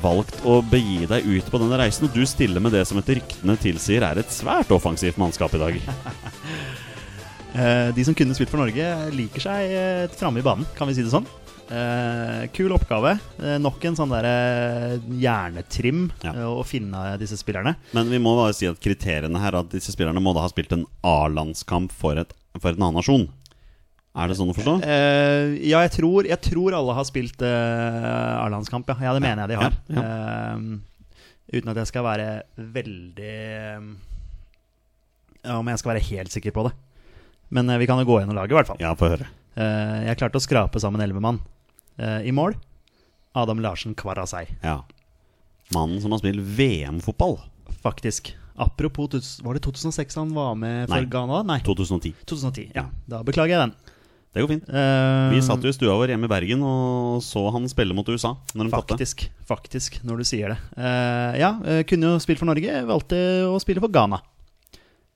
valgt å begi deg ut på denne reisen, og du stiller med det som etter ryktene tilsier er et svært offensivt mannskap i dag.
Eh, de som kunne spilt for Norge, liker seg eh, framme i banen, kan vi si det sånn. Eh, kul oppgave. Eh, nok en sånn derre hjernetrim
Ja.
eh, å finne disse spillerne.
Men vi må bare si at kriteriene her er at disse spillerne må da ha spilt en A-landskamp for, et- for en annen nasjon. Er det sånn å forstå?
Eh, ja, jeg tror, jeg tror alle har spilt uh, A-landskamp, ja. ja. Det mener jeg de har.
ja,
Eh, uten at jeg skal være veldig eh, Om jeg skal være helt sikker på det. Men eh, vi kan jo gå gjennom laget, i hvert fall.
Ja, få høre.
Eh, jeg klarte å skrape sammen elleve mann. Eh, I mål Adam Larsen Kvarasei,
Ja. Mannen som har spilt VM-fotball.
faktisk. Apropos, tus- var det 2006 han var med for
Nei.
Ghana? Nei,
2010.
2010. Ja, da beklager jeg den.
Det går fint.
Eh,
Vi satt jo i stua vår hjemme i Bergen og så han spille mot USA. Når de tapte.
Faktisk, faktisk, når du sier det. Eh, ja, eh, kunne jo spilt for Norge, valgte å spille for Ghana.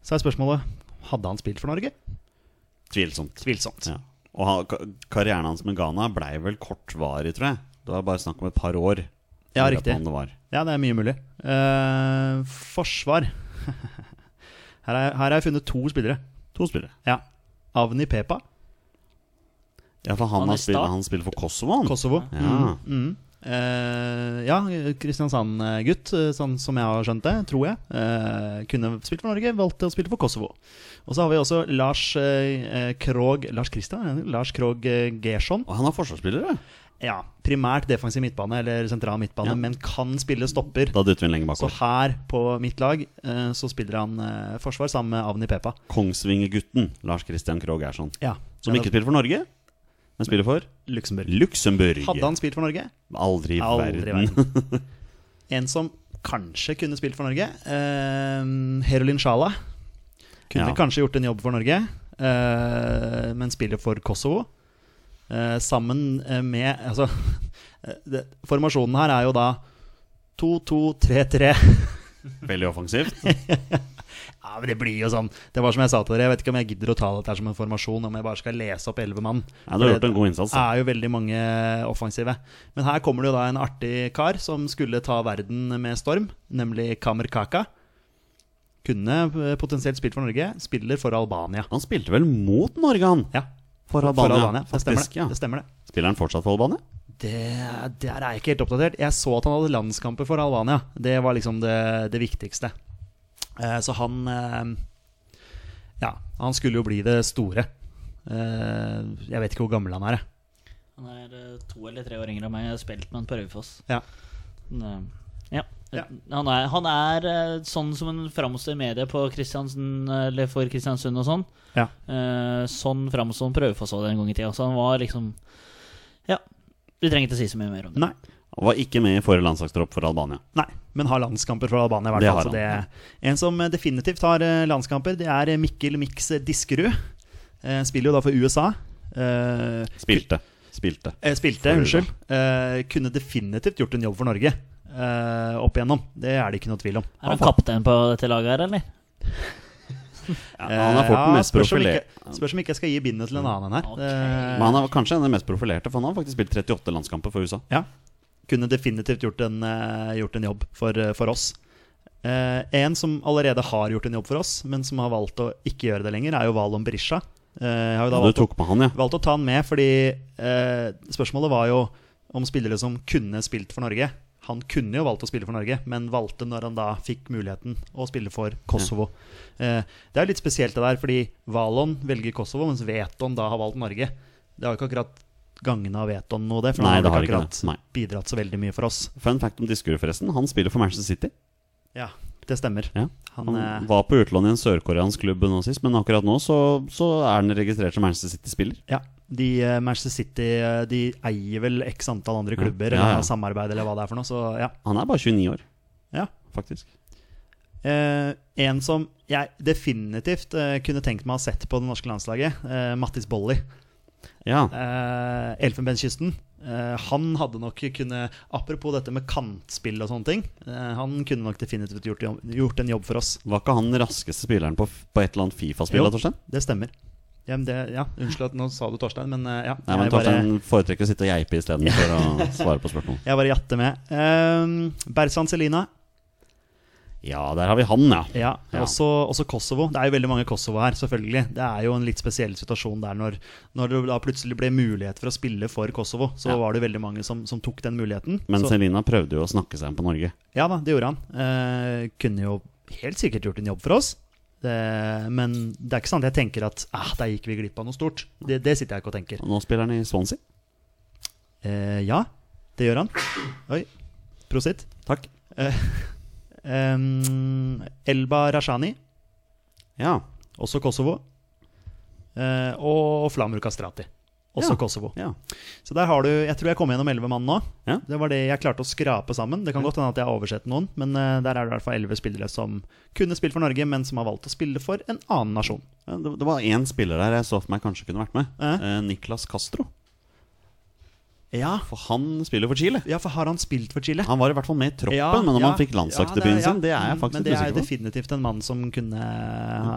Så er spørsmålet hadde han spilt for Norge.
Tvilsomt.
Tvilsomt.
Ja. Og ha- ka- karrieren hans med Ghana blei vel kortvarig, tror jeg. Det var bare snakk om et par år.
Ja,
Lurer på
riktig.
om Det var.
Ja, det er mye mulig. Eh, forsvar. *laughs* her, er, her har jeg funnet to spillere.
To spillere.
Ja. Avni Pepa,
Ja, for han,
Han
har
i
spilt,
stad?
han spiller for Kosovo, han.
Kosovo.
Ja.
Mm. Eh, ja, Kristiansand-gutt, eh, sånn som jeg har skjønt det, tror jeg. Eh, kunne spilt for Norge, valgte å spille for Kosovo. Og så har vi også Lars eh, eh, Krog Lars Kristian? Lars Krog eh, Gesson.
Og han er forsvarsspiller, ja.
Ja, primært defensiv midtbane eller sentral midtbane,
Ja.
men kan spille stopper.
Da dytter vi den lenger
Så
bakover.
her, på mitt lag, eh, så spiller han eh, forsvar sammen med Avni Pepa.
Kongsvingergutten Lars Christian Krogh Ersson.
Ja,
Som ikke spiller for Norge, men spiller for
Luxembourg.
Luxembourg.
Hadde han spilt for Norge?
Aldri i
Aldri i
verden.
verden. En som kanskje kunne spilt for Norge. Eh, Herolin Sjala. Kunne
Ja.
kanskje gjort en jobb for Norge, eh, men spiller for Kosovo. Eh, sammen eh, med Altså, *laughs* eh, det, formasjonen her er jo da 2-2-3-3.
*laughs* Veldig offensivt.
Ja, men det blir jo sånn. Det var som jeg sa til dere, jeg vet ikke om jeg gidder å ta dette her som en formasjon, om jeg bare skal lese opp elleve mann.
Ja, du har gjort en god innsats.
Det
da.
er jo veldig mange offensive. Men her kommer det jo da en artig kar som skulle ta verden med storm, nemlig Kamer Kaka. Kunne eh, potensielt spilt for Norge, spiller for Albania.
Han spilte vel mot Norge, han?
Ja,
For
for
Albania.
Albania. Det stemmer
Faktisk,
det.
ja.
det, stemmer det.
Spiller han fortsatt for Albania?
Det, der er jeg ikke helt oppdatert. Jeg så at han hadde landskamper for Albania. Det var liksom det, det viktigste. Eh, så han eh, Ja, han skulle jo bli det store. Eh, jeg vet ikke hvor gammel han er. jeg.
Han er eh, to eller tre år yngre enn meg. Jeg har spilt med han på Raufoss.
Ja.
Men, eh, Ja.
Ja.
Han, er, han er eh, sånn som han framstår i media på Kristiansen, eller for Kristiansund og sånn.
Ja.
Eh, sånn framstår han på Raufoss også en gang i tida. Så han var liksom Ja. Du trenger ikke si så mye mer om det.
Nei.
Han var ikke med i forrige landslagstropp for Albania.
Nei, men har landskamper for Albania. i
Det
hvert
har
fall så
han.
det, En som definitivt har eh, landskamper, det er Mikkel Mix Diskerud. Eh, Spiller jo da for USA. Eh,
Spilte. Spilte.
Eh, spilte,
For
unnskyld. Eh, kunne definitivt gjort en jobb for Norge eh, opp igjennom. Det er det ikke noe tvil om.
Er han kaptein på dette laget her, eller?
Ja, han er fort
Eh,
den mest
spørs om
profilerte. Mm.
ikke- Spørs om ikke jeg skal gi bindet til en annen her.
Ok.
Eh,
Men han er kanskje den mest profilerte, for han har faktisk spilt 38 landskamper for USA.
ja. Kunne definitivt gjort en, eh, gjort en jobb for, eh, for oss. Eh, en som allerede har gjort en jobb for oss, men som har valgt å ikke gjøre det lenger, er jo Valon Berisha. Eh, jeg har jo da
Du
valgt, å,
tok med han, ja.
valgt å ta han med fordi eh, spørsmålet var jo om spillere som kunne spilt for Norge. Han kunne jo valgt å spille for Norge, men valgte når han da fikk muligheten å spille for Kosovo. Eh, det er litt spesielt det der, fordi Valon velger Kosovo, mens Veton da har valgt Norge. Det har jo ikke akkurat gagna Veton noe, det. For
Nei,
han
det har
har vel ikke
ikke
akkurat
det. Nei.
bidratt så veldig mye for oss.
Fun fact om Diskerud, forresten. Han spiller for Manchester City.
Ja, det stemmer.
Ja.
Han,
Han
eh,
var på utlån i en sørkoreansk klubb nå sist, men akkurat nå så, så er han registrert som Manchester City-spiller.
Ja, de, eh, Manchester City eh, de eier vel x antall andre klubber,
Ja, ja.
eller har samarbeid eller hva det er for noe, så ja.
Han er bare 29 år,
ja.
faktisk.
Eh, en som jeg definitivt eh, kunne tenkt meg å ha sett på det norske landslaget, eh, Mattis Bolli.
Ja,
Eh, Elfenbenskysten. Eh, han hadde nok kunne Apropos dette med kantspill og sånne ting. Eh, han kunne nok definitivt gjort, jobb- gjort en jobb for oss.
Var ikke han den raskeste spilleren på, på et eller annet Fifa-spill,
Jo.
da, Torstein?
Det stemmer. Ja, men det, ja, unnskyld at nå sa du Torstein, men eh, ja.
Nei, men
jeg bare-
Torstein foretrekker å sitte og geipe istedenfor å svare på spørsmål.
Eh, Jeg bare jatter med. Um, Berzan Selina.
*laughs* Ja, der har vi han, ja.
Ja,
Ja.
Også, også Kosovo. Det er jo veldig mange Kosovo her, selvfølgelig. Det er jo en litt spesiell situasjon der når, når det da plutselig ble mulighet for å spille for Kosovo. Så
Ja.
var det veldig mange som, som tok den muligheten.
Men
så,
Celina prøvde jo å snakke seg inn på Norge.
ja da, det gjorde han. Eh, kunne jo helt sikkert gjort en jobb for oss. Det, men det er ikke sant jeg tenker at ah, der gikk vi glipp av noe stort. Det, det sitter jeg ikke og tenker.
Og nå spiller han i Swansea.
Eh, ja, det gjør han. Oi. Prosit. Eh,
Takk.
*laughs* Em, Elba Rashani,
Ja.
også Kosovo. Eh, og Flamur Kastrati, også
Ja.
Kosovo.
ja.
Så der har du Jeg tror jeg kom gjennom elleve mann nå.
Ja.
Det var det jeg klarte å skrape sammen. Det kan godt hende at jeg har oversett noen, men eh, der er det i hvert fall elleve spillere som kunne spilt for Norge, men som har valgt å spille for en annen nasjon.
Ja, Det, det var én spiller der jeg så for meg kanskje kunne vært med.
Ja.
Eh, Niklas Castro.
Ja,
For han spiller for Chile.
ja for har han spilt for Chile?
Han var i hvert fall med i troppen,
Ja,
men om
ja,
han fikk landslagsdebuten
ja,
sin, det er jeg
Men
faktisk
det er
usikker på.
definitivt en mann som kunne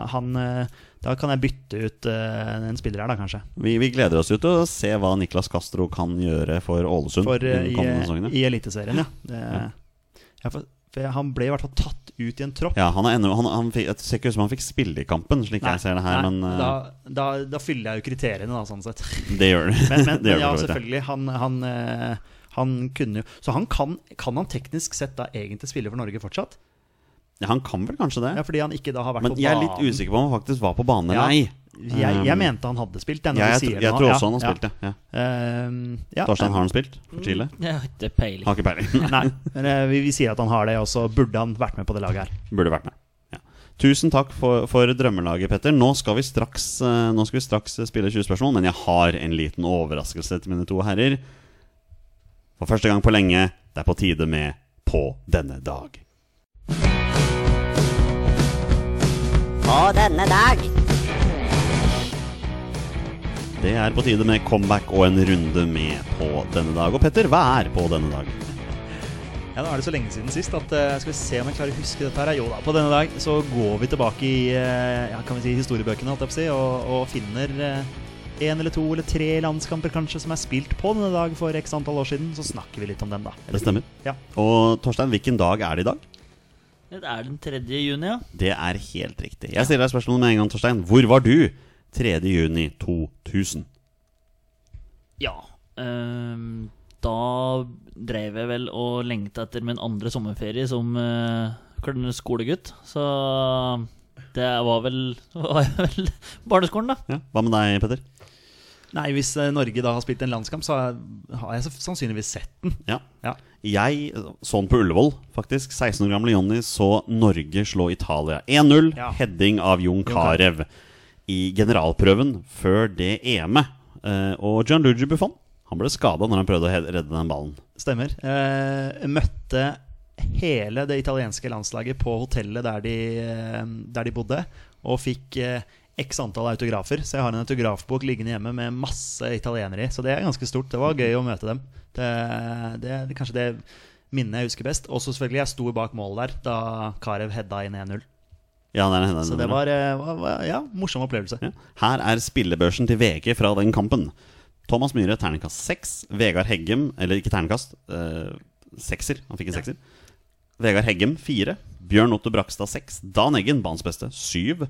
han, eh, Da kan jeg bytte ut eh, en spiller her, da, kanskje.
Vi, vi gleder oss jo til å se hva Niklas Castro kan gjøre for Ålesund.
For, eh,
i de
i,
kommende sesongene.
I Eliteserien, ja. Det, ja for, for han ble i hvert fall tatt ut i en tropp.
Ja, han er ennå han, han fikk, Det ser ikke ut som han fikk spille i kampen, slik jeg ser det her,
nei,
men eh,
da, da, da fyller jeg jo kriteriene, da, sånn
*laughs*
sett.
det gjør *laughs* det.
Men, men,
det
men
gjør det for
ja,
så vidt,
selvfølgelig. Han, han, eh, han kunne jo Så han kan, kan han teknisk sett da egentlig spille for Norge fortsatt?
ja, Han kan vel kanskje det?
Ja, fordi han ikke da har vært
men
på
jeg er
banen.
litt usikker på om han faktisk var på banen
Ja.
eller ei.
Jeg, jeg
Um,
mente han hadde spilt.
Ja, jeg, tr- jeg tror også han har spilt det. Ja.
spilt, Eh, um, ja. Mm.
Torstein, har han spilt for Chile?
Jeg har ikke peiling.
Har ikke peiling. *laughs*
Nei, men eh, vi, vi sier at han har det, og så burde han vært med på det laget her.
Burde vært med. Ja. Tusen takk for, for drømmelaget, Petter. Nå skal, vi straks, eh, nå skal vi straks spille 20 spørsmål, men jeg har en liten overraskelse til mine to herrer. For første gang på lenge, det er på tide med På denne dag.
På denne dag.
Det er på tide med comeback og en runde med på denne dag. Og Petter, hva er på denne dag?
Ja, Nå er det så lenge siden sist at eh, skal vi se om jeg klarer å huske dette her. Jo da, på denne dag så går vi tilbake i eh, ja, kan vi si historiebøkene holdt jeg på å si, og, og finner én eller to eller tre landskamper kanskje som er spilt på denne dag for x antall år siden. Så snakker vi litt om den, da.
Det stemmer.
Ja.
Og Torstein, hvilken dag er det i dag?
Det er den 3. juni, ja.
Det er helt riktig. Jeg stiller deg spørsmålet med en gang, Torstein. Hvor var du 3. juni 2000?
Ja. ehm, da drev jeg vel og lengta etter min andre sommerferie som eh, kl- skolegutt. Så det var vel, *laughs* var vel barneskolen, da.
Ja. Hva med deg, Petter?
Nei, hvis eh, Norge da har spilt en landskamp, så har har jeg så- sannsynligvis sett den.
Ja.
Ja.
Jeg så den på Ullevål, faktisk. 16 år gamle Jonny så Norge slå Italia 1-0.
Ja.
Heading av Jon Carew i generalprøven før det EM-et. Eh, og Gianluigi Buffon han ble skada når han prøvde å he- redde den ballen.
Stemmer. Eh, møtte hele det italienske landslaget på hotellet der de, eh, der de bodde, og fikk eh, X antall autografer, så jeg har en autografbok liggende hjemme med masse italienere i. Så det er ganske stort. Det var gøy å møte dem. Det, det er kanskje det minnet jeg husker best. Og så selvfølgelig, jeg sto bak målet der da Karev hedda inn 1-0.
Ja, det er henne,
Så det var, eh, var- var- ja, morsom opplevelse.
Ja. Her er spillebørsen til VG fra den kampen. Thomas Myhre, terningkast 6. Vegard Heggem, eller ikke terningkast, eh, sekser. Han fikk en sekser. Vegard Heggem, 4. Bjørn Otto Brakstad, 6. Dan Eggen, banens beste, 7.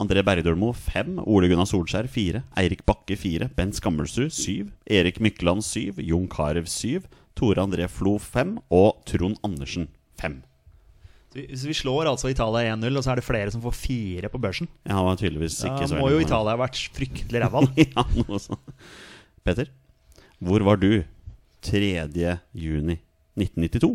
André Bergdølmo, 5. Ole Gunnar Solskjær, 4. Eirik Bakke, 4. Bent Skammelsrud, 7. Erik Mykland, 7. Jon Carew, 7. Tore André Flo, 5. Og Trond Andersen, 5.
Så vi, så vi slår altså Italia 1-0, og så er det flere som får fire på børsen.
Ja, han var tydeligvis
Da
ikke så
må jo
veldig-
Italia ha vært fryktelig ræva. da.
*laughs* ja, noe sånt. Petter, hvor var du 3. juni 1992?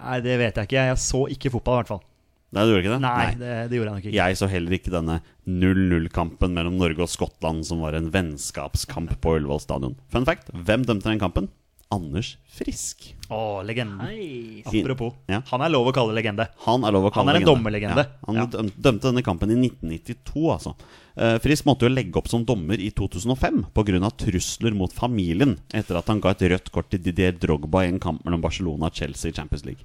Nei, det vet jeg ikke. Jeg så ikke fotball, i hvert fall.
Nei, du gjorde ikke det?
Nei, Det, det gjorde jeg nok ikke.
Jeg så heller ikke denne 0-0-kampen mellom Norge og Skottland, som var en vennskapskamp på Ullevål stadion. Fun fact, hvem dømte den kampen? Anders Frisk.
Å, legenden.
Hei.
Apropos.
Ja.
Han er lov å kalle legende.
Han er lov å kalle
Han er en
legende.
dommerlegende.
Ja, han
Ja.
døm- dømte denne kampen i 1992, altså. Eh, Frisk måtte jo legge opp som dommer i 2005 pga. trusler mot familien etter at han ga et rødt kort til Didier Drogba i en kamp mellom Barcelona og Chelsea i Champions League.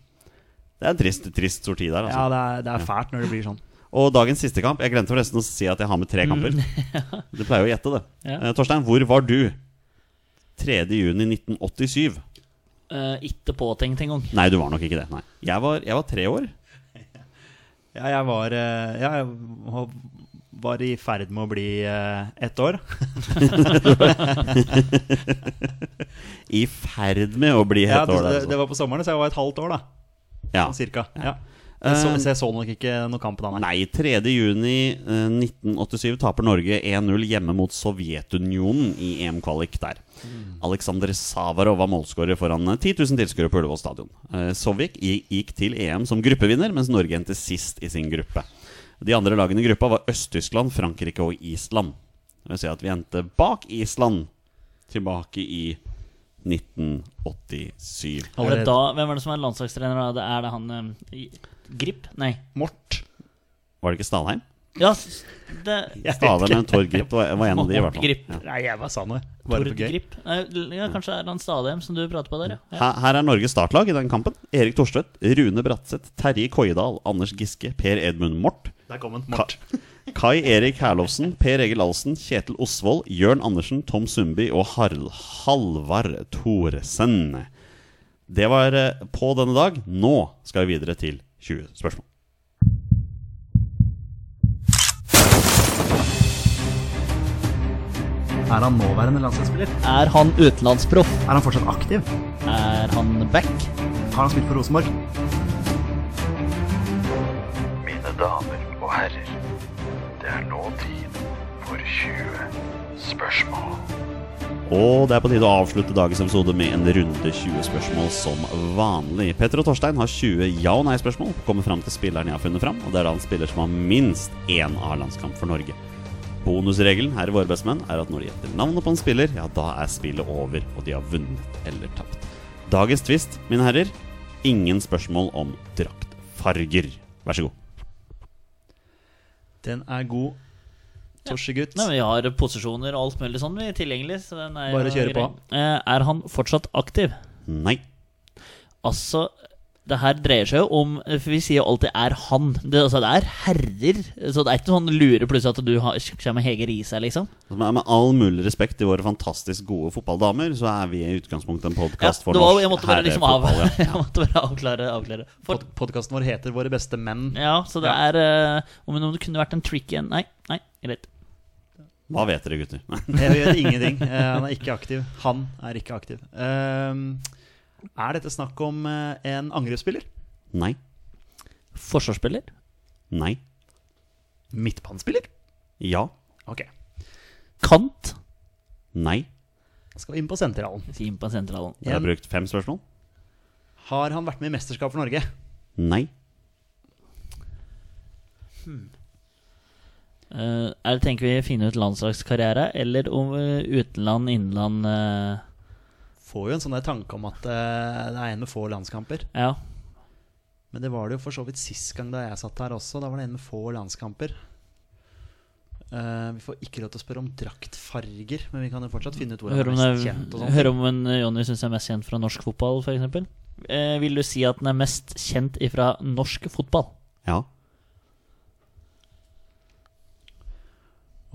Det er en trist, trist sorti der, altså.
Ja, det er, det er fælt når det blir sånn.
Og dagens siste kamp Jeg glemte forresten å si at jeg har med
Mm.
tre
*laughs*
kamper. Du pleier jo å gjette det.
Ja.
Eh, Torstein, hvor var du 3. juni 1987?
eh, ikke påtenkt engang.
Nei, du var nok ikke det. Nei. Jeg var, jeg var tre år.
Ja, jeg var, eh, ja, jeg var- var i ferd med å bli eh, ett år.
I ferd med å bli
Ja,
hete år.
det, det
Altså.
var på sommeren, så jeg var et halvt år, da.
Ja.
Sånn Cirka. Ja. Jeg så,
Eh,
så jeg så nok ikke noe kamp da, nei.
Nei, 3. juni eh, 1987 taper Norge 1-0 hjemme mot Sovjetunionen i EM-kvalik der. Aleksander Savarov var målskårer foran eh, 10 000 tilskuere på Ullevål stadion. Eh, Sovjet gi- gikk til EM som gruppevinner, mens Norge endte sist i sin gruppe. De andre lagene i gruppa var Øst-Tyskland, Frankrike og Island. Det vil si at vi endte bak Island tilbake i 1987.
Og
Er
det
det-
da, hvem er det som er landslagstrener? da? Det er det han eh, i- Grip? Nei.
Mort.
Var det ikke Stalheim?
Ja, s- det
Jeg
Stalheim
vet
eller Tord Grip var var en av de, i hvert fall.
Grip.
ikke. Nei, jeg bare sa noe. Bare
Tord
for gøy.
Grip. Nei, l- Ja, kanskje er han Stadheim som du prater på der, ja.
Her, her er Norges startlag i den kampen. Erik Thorstvedt, Rune Bratseth, Terje Koidal, Anders Giske, Per Edmund Mort,
Der kom den. Mort.
Kai Erik Herlovsen, Per Egil Ahlsen, Kjetil Osvold, Jørn Andersen, Tom Sundby og Harl Halvard Thoresen. Det var eh, på denne dag. Nå skal vi videre til 20 spørsmål.
Er han nåværende landslagsspiller?
Er han utenlandsproff?
Er han fortsatt aktiv?
Er han back?
Har han spilt for Rosenborg?
Mine damer og herrer, det er nå tid for 20 spørsmål.
Og det er på tide å avslutte dagens episode med en runde 20 spørsmål som vanlig. Petter og Torstein har 20 ja- og nei-spørsmål. Kommer fram til spilleren jeg har funnet fram, og det er da en spiller som har minst én A-landskamp for Norge. Bonusregelen her i Våre bestemenn er at når de gjetter navnet på en spiller, ja, da er spillet over, og de har vunnet eller tapt. Dagens twist, mine herrer, ingen spørsmål om draktfarger. Vær så god.
Den er god. Torsegutt.
Nei, men Vi har posisjoner og alt mulig sånn vi er tilgjengelig. Så den er
Bare kjøre på.
Eh, Er han fortsatt aktiv?
Nei.
Altså, det her dreier seg jo om eh, For vi sier jo alltid 'er han'. Det, altså, det er herrer. Så det er ikke sånn lure plutselig at du har, kommer Hege Riise, liksom.
Men Med all mulig respekt til våre fantastisk gode fotballdamer, så er vi i utgangspunktet en podkast for
det var,
norsk
jo- jeg måtte bare, liksom av,
herrefotball, ja.
*laughs* jeg måtte bare avklare, avklare. For,
Pod Podkasten vår heter Våre beste menn.
ja, så det er eh, Om om det kunne vært en tricky en Nei, nei, greit.
Hva vet dere, gutter? *laughs* Nei.
Jeg gjør ingenting. Eh, han er ikke aktiv. Han er ikke aktiv. Ehm, er dette snakk om eh, en angrepsspiller?
Nei.
Forsvarsspiller?
Nei.
Midtbanespiller?
Ja.
Ok.
Kant?
Nei.
Da Skal vi inn på sentralen.
Si inn på sentralen.
Dere har
En-
brukt fem spørsmål?
Har han vært med i mesterskap for Norge?
Nei.
Eh, er det Tenker vi finne ut landslagskarriere, eller om eh, utenland, innenland eh,
Får jo en sånn der tanke om at eh, det er en med få landskamper.
Ja.
Men det var det jo for så vidt sist gang da jeg satt her også. Da var det en med få landskamper. Eh, vi får ikke lov til å spørre om draktfarger, men vi kan jo fortsatt finne ut hvor han
Hør
er
om,
mest
det,
kjent. og sånt.
hør om en eh, Jonny syns er mest kjent fra norsk fotball, f.eks. Eh, vil du si at den er mest kjent ifra norsk fotball?
Ja.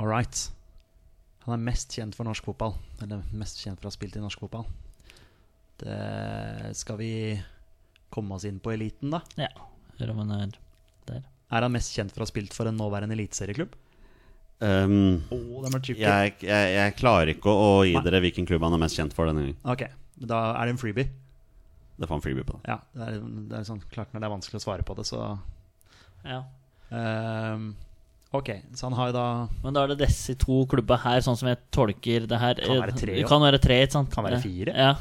All right. Han er mest kjent for norsk fotball. Eller mest kjent for å ha spilt i norsk fotball. Det skal vi komme oss inn på eliten, da?
Ja. Hør om eh, den er der.
Er han mest kjent for å ha spilt for en nåværende eliteserieklubb?
Ehm,
Oh, den var tricky.
jeg, jeg, jeg klarer ikke å, å gi dere hvilken klubb han er mest kjent for denne gangen.
Ok, da er det en freebie.
Det får en freebie på det.
Ja, det er, det er sånn, klart når det er vanskelig å svare på det, så
Ja.
ehm, Ok, så han har jo da
Men da er det disse to klubba her, sånn som jeg tolker det her.
Kan være tre,
Det
jo.
kan være tre, ikke sant? Eh,
Kan være fire.
Ja.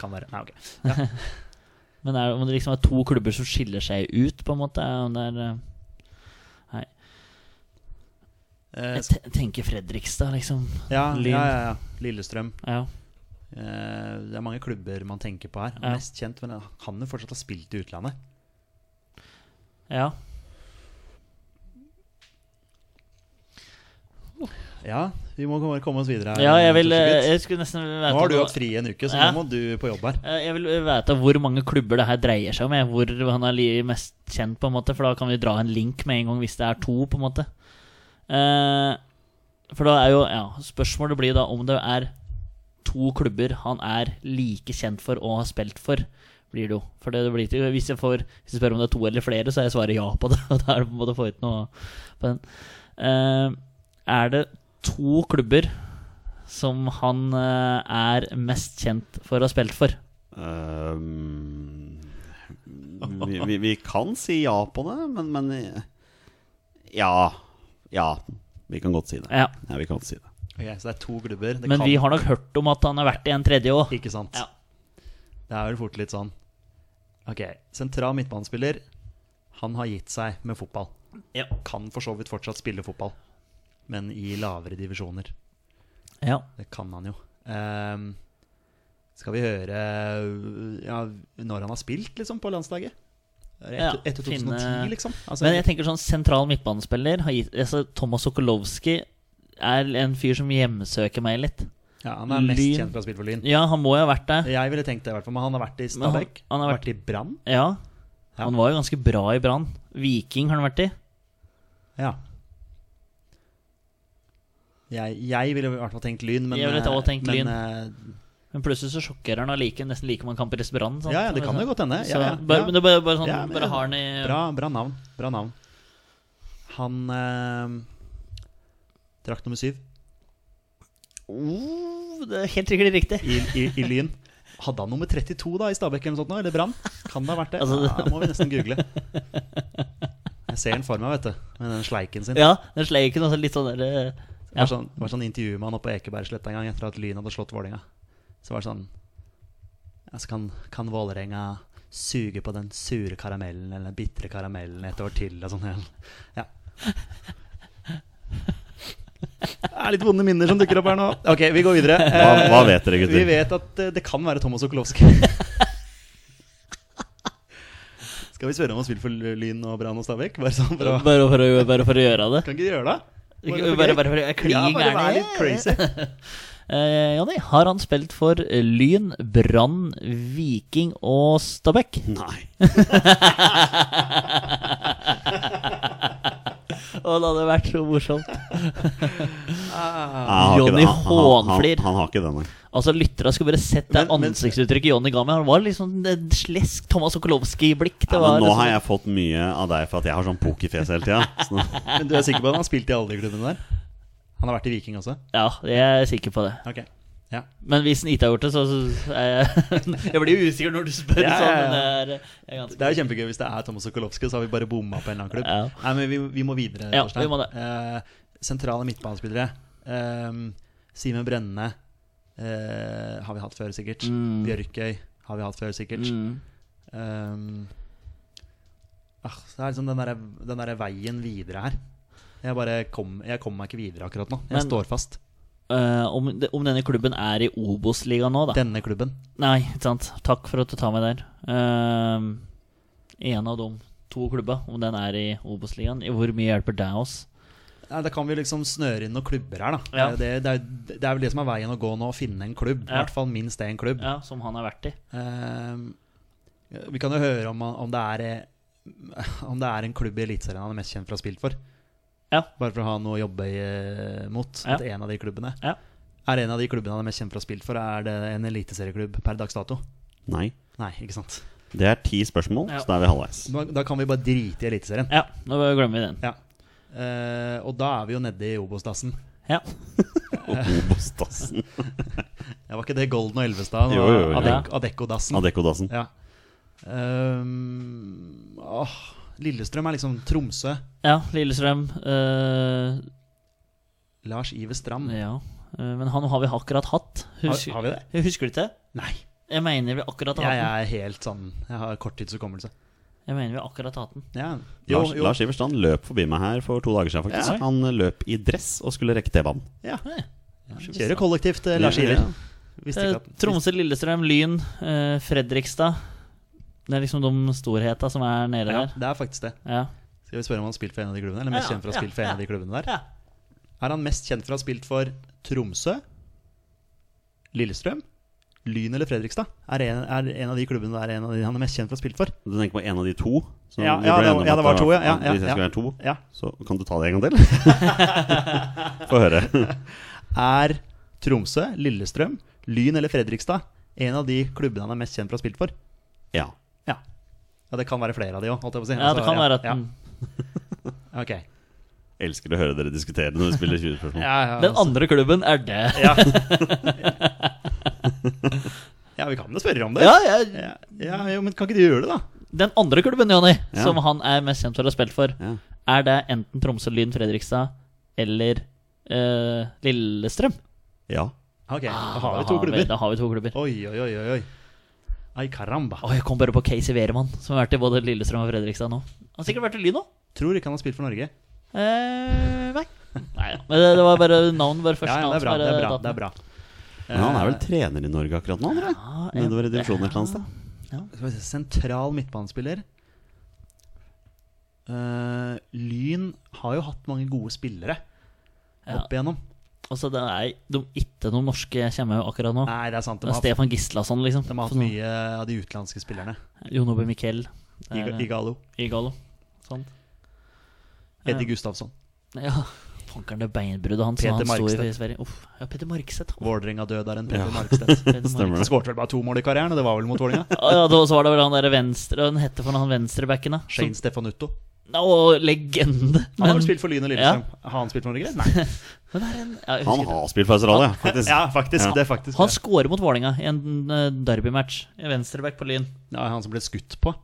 Kan være Nei, ok.
Men er, om det liksom er to klubber som skiller seg ut, på en måte er om det er, eh,
Eh,
Jeg
s-
te- tenker Fredrikstad, liksom.
ja,
Lyn.
ja, ja, ja. Lillestrøm.
Ja.
Eh, det er mange klubber man tenker på her. Han
Ja.
er Mest kjent, men han kan jo fortsatt ha spilt i utlandet.
ja.
Ja, vi må bare komme oss videre. her,
Ja, jeg vil eh,
Torsegutt.
Jeg skulle nesten vite
Nå har du
om-
hatt fri en uke, så
Ja.
nå må du på jobb her.
Eh, Jeg vil vite hvor mange klubber det her dreier seg om. Jeg. Hvor han er li- mest kjent, på en måte. For da kan vi dra en link med en gang, hvis det er to, på en måte. Eh, For da er jo ja, Spørsmålet blir da om det er to klubber han er like kjent for og har spilt for, blir det jo. For det blir ikke, hvis, jeg får, hvis jeg spør om det er to eller flere, så er svaret ja på det. *laughs* Og da er det på en måte å få ut noe på den. Eh, er det to klubber som han eh, er mest kjent for å ha spilt for?
Ehm, vi, vi, vi kan si ja på det, men, men Ja. Ja, vi kan godt si det.
Ja.
Ja, vi kan godt si det.
Ok, Så det er to klubber. Det
Men
kan,
vi har nok hørt om at han har vært i en tredje òg.
Ikke sant?
Ja.
Det er vel fort litt sånn Ok, sentral midtbanespiller. Han har gitt seg med fotball.
Ja.
Kan for så vidt fortsatt spille fotball, men i lavere divisjoner.
Ja.
Det kan han jo. Ehm, skal vi høre øh, ja, når han har spilt, liksom, på landslaget? Er det
Ja,
Etter, etter 2010,
finne-
liksom? Altså,
Men jeg tenker sånn sentral midtbanespiller har gitt, altså, Thomas Sokolowski er en fyr som hjemsøker meg litt.
ja, han er mest
Lyn.
kjent for å ha spilt for Lyn.
Ja, han må jo ha vært der.
Jeg ville tenkt det, i hvert fall. Men han har vært i
Men han-
Stabæk.
han har vært-
vært i Brann.
Ja.
Ja.
Han var jo ganske bra i Brann. Viking har han vært i.
Ja. Jeg, jeg ville i hvert fall tenkt Lyn, men
Jeg ville også
eh,
tenkt
men,
Lyn.
eh,
Men plutselig så sjokkerer han allike, nesten like mange kamper i Brann. sant?
Ja, ja, det kan jo godt hende.
Så,
Ja, ja,
Bare,
ja.
men det er bare, bare, sånn,
Ja, men-
bare har han i
Bra, bra navn. Bra navn. Han eh, Drakt nummer syv
oh, Det er helt sikkert riktig.
i, i, i Lyn. Hadde han nummer 32 da i Stabæk eller noe sånt? nå, Eller Brann? Kan det ha vært det?
Altså-
ja, må vi nesten google. Jeg ser den for meg, vet du. Med den sleiken sin.
Ja, den sleiken også litt sånn derre
Det var sånn, det var sånn intervju med han oppe på Ekebergsletta en gang etter at Lyn hadde slått Vålerenga. Så var det sånn altså Kan, kan Vålerenga suge på den sure karamellen eller den bitre karamellen et år til? Og sånn. Ja. Det er litt vonde minner som dukker opp her nå. Ok, vi går videre. Eh,
Hva- hva vet dere, gutter?
Vi vet at eh, det kan være Thomas Okolowski.
*laughs*
Skal vi spørre om han spiller for Lyn og Brann og Stabæk? Bare sånn for å
Bare for, å, bare for å gjøre det.
Kan ikke du gjøre det?
Bare,
for
bare,
gøy?
bare, for å- klin
ja, bare
gærne.
vær litt crazy.
*laughs* Eh, Jonny, har han spilt for Lyn, Brann, Viking og Stabæk?
Nei.
Og det hadde vært så morsomt.
Jeg har ikke
Johnny
det. Han- han-
Hånflir.
Han, han har ikke det, nei.
Altså Lytterne skulle bare sett det
Men- men-
ansiktsuttrykket Jonny ga meg. Han var liksom en slesk Thomas Okolowski-blikk. Det
Ja,
var
men nå
liksom-
har jeg fått mye av deg for at jeg har sånn pokerfjes hele tida. Så nå-
Men du er sikker på at han har spilt i alle de klubbene der? Han har vært i Viking også?
Ja, jeg er sikker på det.
Ok. Ja.
Men hvis han ikke har gjort det, så, så er jeg *laughs* Jeg blir jo usikker når du spør
Ja, ja, ja.
sånn. Men det er, jeg er ganske
Det er jo kjempegøy hvis det er Thomas Sokolowski, så har vi bare bomma på en eller annen klubb.
Ja.
Nei, men vi, vi må videre.
Ja,
Torstein.
vi må det.
Eh, sentrale midtbanespillere. Ehm, Simen Brenne eh, har vi hatt før, sikkert. Bjørkøy har vi hatt før, sikkert.
mm.
Ehm, ah, det er liksom den derre den derre veien videre her. Jeg bare kom, jeg kommer meg ikke videre akkurat nå. Jeg
Men-
står fast.
Eh, om, om denne klubben er i Obos-ligaen nå, da?
Denne klubben.
Nei, ikke sant. Takk for at du tar meg der. Ehm, en av de to klubba, om den er i Obos-ligaen, i hvor mye hjelper det oss?
Nei, Da kan vi liksom snøre inn noen klubber her, da. Eh,
Ja.
Det, det, er, det er vel det som er veien å gå nå, å finne en klubb. I
Ja.
hvert fall minst én klubb.
Ja, Som han har vært i.
Ehm, vi kan jo høre om, han- om, det er, eh, om det er en klubb i Eliteserien han er mest kjent for å ha spilt for.
Ja.
Bare for å ha noe å jobbe i, eh, mot.
Ja.
At en av de klubbene
Ja.
Er en av de klubbene han er mest kjent for å ha spilt for, er det en eliteserieklubb per dags dato?
Nei.
Nei, ikke sant.
Det er ti spørsmål,
Ja.
så da er vi halvveis.
Da, da kan vi bare drite i Eliteserien.
Ja, nå glemmer vi den.
Ja. Eh, og da er vi jo nede i Obos-dassen.
Ja.
*laughs*
Obos-dassen.
Ja, var ikke det Golden og Elvestad
Jo, jo,
og
jo.
Adek Adecco-dassen?
Adecco-dassen.
Ja. Ehm, åh, Lillestrøm er liksom Tromsø.
ja Lillestrøm. eh,
Lars Iver Strand.
ja. Eh, men han har vi akkurat hatt.
Har, har vi det?
Husker du ikke det?
Nei.
Jeg mener vi akkurat har
Jeg
hatt den.
er helt sånn Jeg har korttidshukommelse.
Jeg mener vi akkurat har hatt den.
Ja. Jo,
Lars,
jo.
Lars Iverstrand løp forbi meg her for to dager siden, faktisk.
Ja.
Han løp i dress og skulle rekke T-banen.
Ja. Kjører kollektivt, eh, Lars Iver.
Ja.
Visste
Eh,
ikke at
Tromsø, Lillestrøm, Lyn, eh, Fredrikstad. Det er liksom de storheta som er nede
ja,
der.
Det er faktisk det.
Ja.
Skal vi spørre om han har spilt for en av de klubbene? Eller mest
Ja,
kjent for å ha
ja,
spilt for en av de klubbene der?
ja.
Er han mest kjent for å ha spilt for Tromsø, Lillestrøm, Lyn eller Fredrikstad? Er en, er en av de klubbene der en av de han er mest kjent for å ha spilt for?
Du tenker på en av de to? som
Ja,
vi
ja,
ble
det
enige om
var- ja,
at
det var to, ja, ja, ja,
Hvis jeg skulle
ja.
være to,
Ja.
så kan du ta det en gang
*laughs*
til. Få høre. *laughs*
er Tromsø, Lillestrøm, Lyn eller Fredrikstad. En av de klubbene han er mest kjent for å ha spilt for.
Ja.
Ja, ja det kan være flere av de òg, holdt jeg på å si.
Ja,
Altså,
det kan være at den,
Ja. Ok.
Elsker å høre dere diskutere når dere spiller 20 spørsmål.
Ja, ja,
den
altså.
andre klubben er det.
*laughs* ja, vi kan jo spørre om det.
Ja, ja,
Ja, ja, jo, men kan ikke du gjøre det, da?
den andre klubben, Jonny,
Ja.
som han er mest kjent for å ha spilt for,
Ja.
er det enten Tromsø, Lyn, Fredrikstad eller eh, Lillestrøm.
ja.
Ok, da har
Da
vi to klubber.
da har vi to klubber.
Oi, oi, oi, oi, oi. Ai caramba.
Å, jeg kom bare på Casey Wehrmann, som har vært i både Lillestrøm og Fredrikstad nå. Han har sikkert vært i Lyn òg.
Tror ikke han har spilt for Norge.
Eh, nei. Nei, ja. Men det, det var bare navn, bare første
Ja, ja,
navn.
det er bra. det
som
er bra, det
datt ned.
er bra.
Men han er
Eh.
vel trener i Norge akkurat nå, tror jeg?
Ja,
Nedover i
ja.
divisjonen et eller annet sted.
Skal vi se, Sentral midtbanespiller. Eh, Lyn har jo hatt mange gode spillere
Ja.
opp igjennom.
Altså, det er de, ikke noen norske kommer jo akkurat nå.
Nei, det er sant.
Det
De
er
har,
Stefan Gislason, liksom.
de har hatt mye av de utenlandske spillerne.
Jon Ove eh, Miquel. det er-
Ig- Igalo,
Igalo. Sånn.
Eddie Gustavsson,
Ja. Fankeren, det beinbruddet hans.
Peter
Peter han sto i
Markstedt.
Sverige. Uff. Ja, Peter Markstedt.
*laughs*
Han.
Vålerenga-døderen Petter *laughs* Markstedt.
Peter
Stemmer
Markstedt.
Han skårte vel bare to mål i karrieren, og det var vel mot *laughs* Vålerenga.
Ja, ja, da- så var det vel han der venstre Han hette for noe, han venstrebacken, da.
Shane Stefanutto.
Som- Å, legende!
Han har
Men-
vel spilt for Lyn og Lillestrøm. Har han spilt for Norge? Nei.
men det er en, ja, jeg husker
Han
ikke.
har spilt for Australia, faktisk.
Ja, *laughs* faktisk.
Ja.
Det er faktisk
han
det.
scorer mot Vålinga i en eh, derbymatch. En Venstreback på Lyn.
Ja, han som ble skutt på.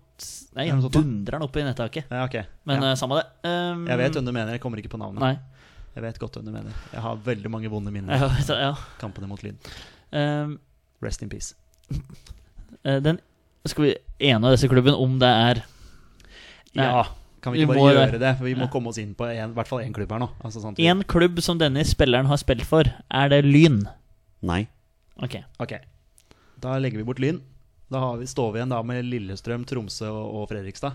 Nei,
Er det
han
noe sånt da?
dundrer han opp i nettaket.
Ja, ok.
Men
ja.
eh, samme det. Um,
Jeg vet hvem du mener. Jeg kommer ikke på navnet.
Nei. *laughs*
Jeg vet godt hvem du mener. Jeg har veldig mange vonde minner
Ja, så, ja.
om kampene mot Lyn.
Um,
Rest in peace.
eh, den Skal vi ene disse klubben om det er Nei.
Ja, kan vi
Vi
ikke bare
må
gjøre
det.
det? For vi må
Ja.
komme oss inn på en, i hvert fall én klubb her nå. Altså, sant?
En klubb som denne spilleren har spilt for, er det Lyn?
Nei.
Ok.
Ok, da legger vi bort Lyn. Da har vi, står vi igjen da med Lillestrøm, Tromsø og, og Fredrikstad.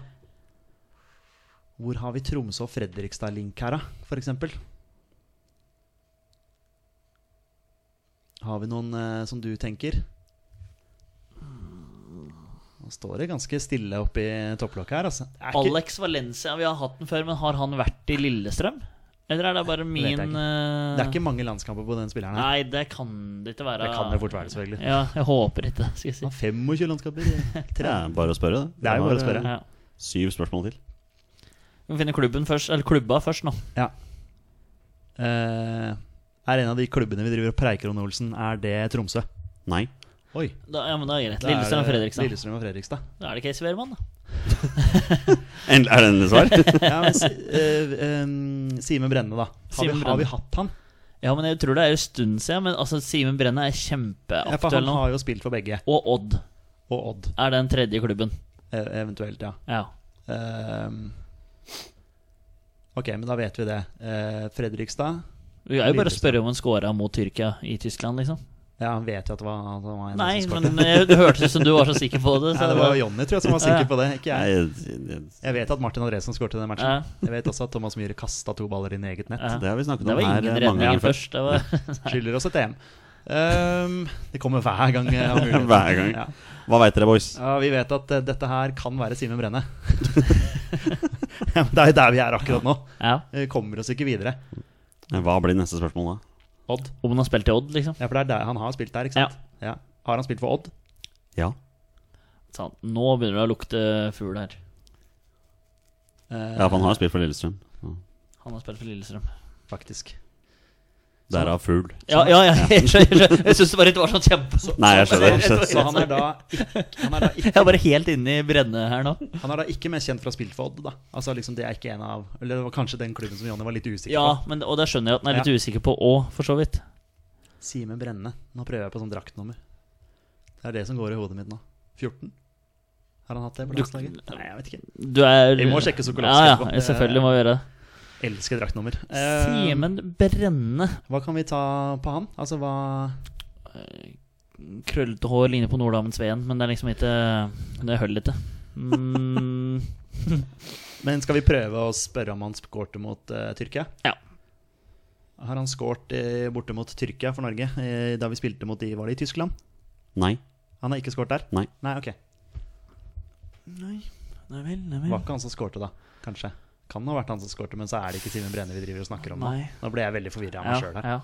Hvor har vi Tromsø og Fredrikstad-link her, da, for eksempel? Har vi noen eh, som du tenker? Nå står det ganske stille oppe i topplokket her, altså. Det er ikke-
Alex Valencia, vi har hatt den før, men har han vært i Lillestrøm? Eller er det bare min
vet jeg ikke.
eh,
Det er ikke mange landskamper på den spilleren her.
Nei, det kan det ikke være.
Det kan det fort være, selvfølgelig.
Ja, jeg håper ikke, skal jeg si.
Han har 25 landskamper.
Det er bare å spørre, det.
Det er jo bare å spørre.
Ja.
Syv spørsmål til.
Vi må finne klubben først, eller klubba først nå.
Eh, er en av de klubbene vi driver og preiker om, Olsen, er det Tromsø?
Nei.
Oi.
Da, ja, men da er det greit.
da er
Lillestrøm og
det
Fredrikstad.
Lillestrøm og Fredrikstad.
Da er det Casey Wehrmann, da.
En, er det endelig svar?
Ja, men, eh, eh, Simen Brenne, da. Har vi,
Simen
har vi
Brenne.
hatt han?
Ja, men jeg tror det er en stund siden, men altså, Simen Brenne
Ja,
er
for
kjempeaktuell
han
nå.
har jo spilt for begge.
Og Odd
Og Odd,
er den tredje klubben.
eh, eventuelt, ja.
Ja.
Eh, ok, men da vet vi det. Eh, Fredrikstad
Vi er jo bare å
Lillestrøm.
spørre om han scora mot Tyrkia i Tyskland, liksom.
Ja, han vet jo at det var, at det var en
Nei,
som
*laughs*
skårte.
men jeg, det hørtes ut som du var så sikker på det.
Nei,
Så
det var Jonny tror jeg som var sikker på det, ikke
Nei,
jeg.
det,
Jeg vet at Martin Andresen skåret den matchen.
Ja.
Jeg vet også at Thomas Myhre kasta to baller inn i eget nett.
Ja.
det har vi snakket
det
om
var
her
ingen
eh, mange
redninger
ganger før.
først. Det var,
Skylder oss et EM. Ehm, det kommer hver gang. jeg har mulighet.
*laughs* Hver gang.
Ja.
Hva veit dere, boys?
Ja, vi vet at eh, dette her kan være
*laughs*
Simen Brenne. ja, men det er jo der vi er akkurat nå.
*laughs* ja.
Vi kommer oss ikke videre.
Hva blir neste spørsmål da?
Odd.
Om han har spilt i Odd, liksom.
Ja, for det er der han har spilt der, ikke sant? Ja. Har han spilt for Odd?
Ja.
Så han- nå begynner det å lukte fugl her.
Eh,
ja, for han har spilt for Lillestrøm. Ja.
Han har spilt for Lillestrøm.
Faktisk.
Derav fugl.
Ja, ja, ja *laughs* jeg skjønner. jeg skjønner. Jeg syns det bare ikke var sånn kjempe...
Nei, jeg skjønner. Jeg skjønner.
*laughs* Så han er, da
*laughs*
ikke, han, er da ikke,
*laughs* Jeg er bare helt inne i brenne her nå.
han er da ikke mest kjent for å ha spilt for Odd, da. Altså liksom Det er ikke en av Eller det var kanskje den klubben som Jonny var litt usikker
Ja, men, og det skjønner jeg at den er litt
Ja.
usikker på òg, for så vidt.
på. Simen Brenne. Nå prøver jeg på sånn draktnummer. Det er det som går i hodet mitt nå. 14? Har han hatt det på
Du-
landslaget? Nei, jeg vet ikke.
Du er
Vi må sjekke sjokolade
Ja,
etterpå.
ja, selvfølgelig må vi gjøre det.
Elsker draktnummer. Eh,
Simen Brenne.
Hva kan vi ta på han? Altså hva
Eh, Krøllete hår, ligner på Norddamen Sveen, men det er liksom ikke Det holder ikke. Mm,
Men skal vi prøve å spørre om han skårte mot eh, Tyrkia?
ja.
Har han skåret eh, borte mot Tyrkia for Norge eh, da vi spilte mot de, var det i Tyskland?
Nei.
Han har ikke skåret der?
Nei.
Nei, ok.
Nei, *laughs* nei vel, nei
Var
vel.
ikke han som skårte, da? Kanskje. Kan ha vært han som skårte, men så er det ikke Simen Brenne vi driver og snakker om nå.
Nei.
Nå ble jeg veldig forvirra av
Ja,
meg sjøl her.
ja.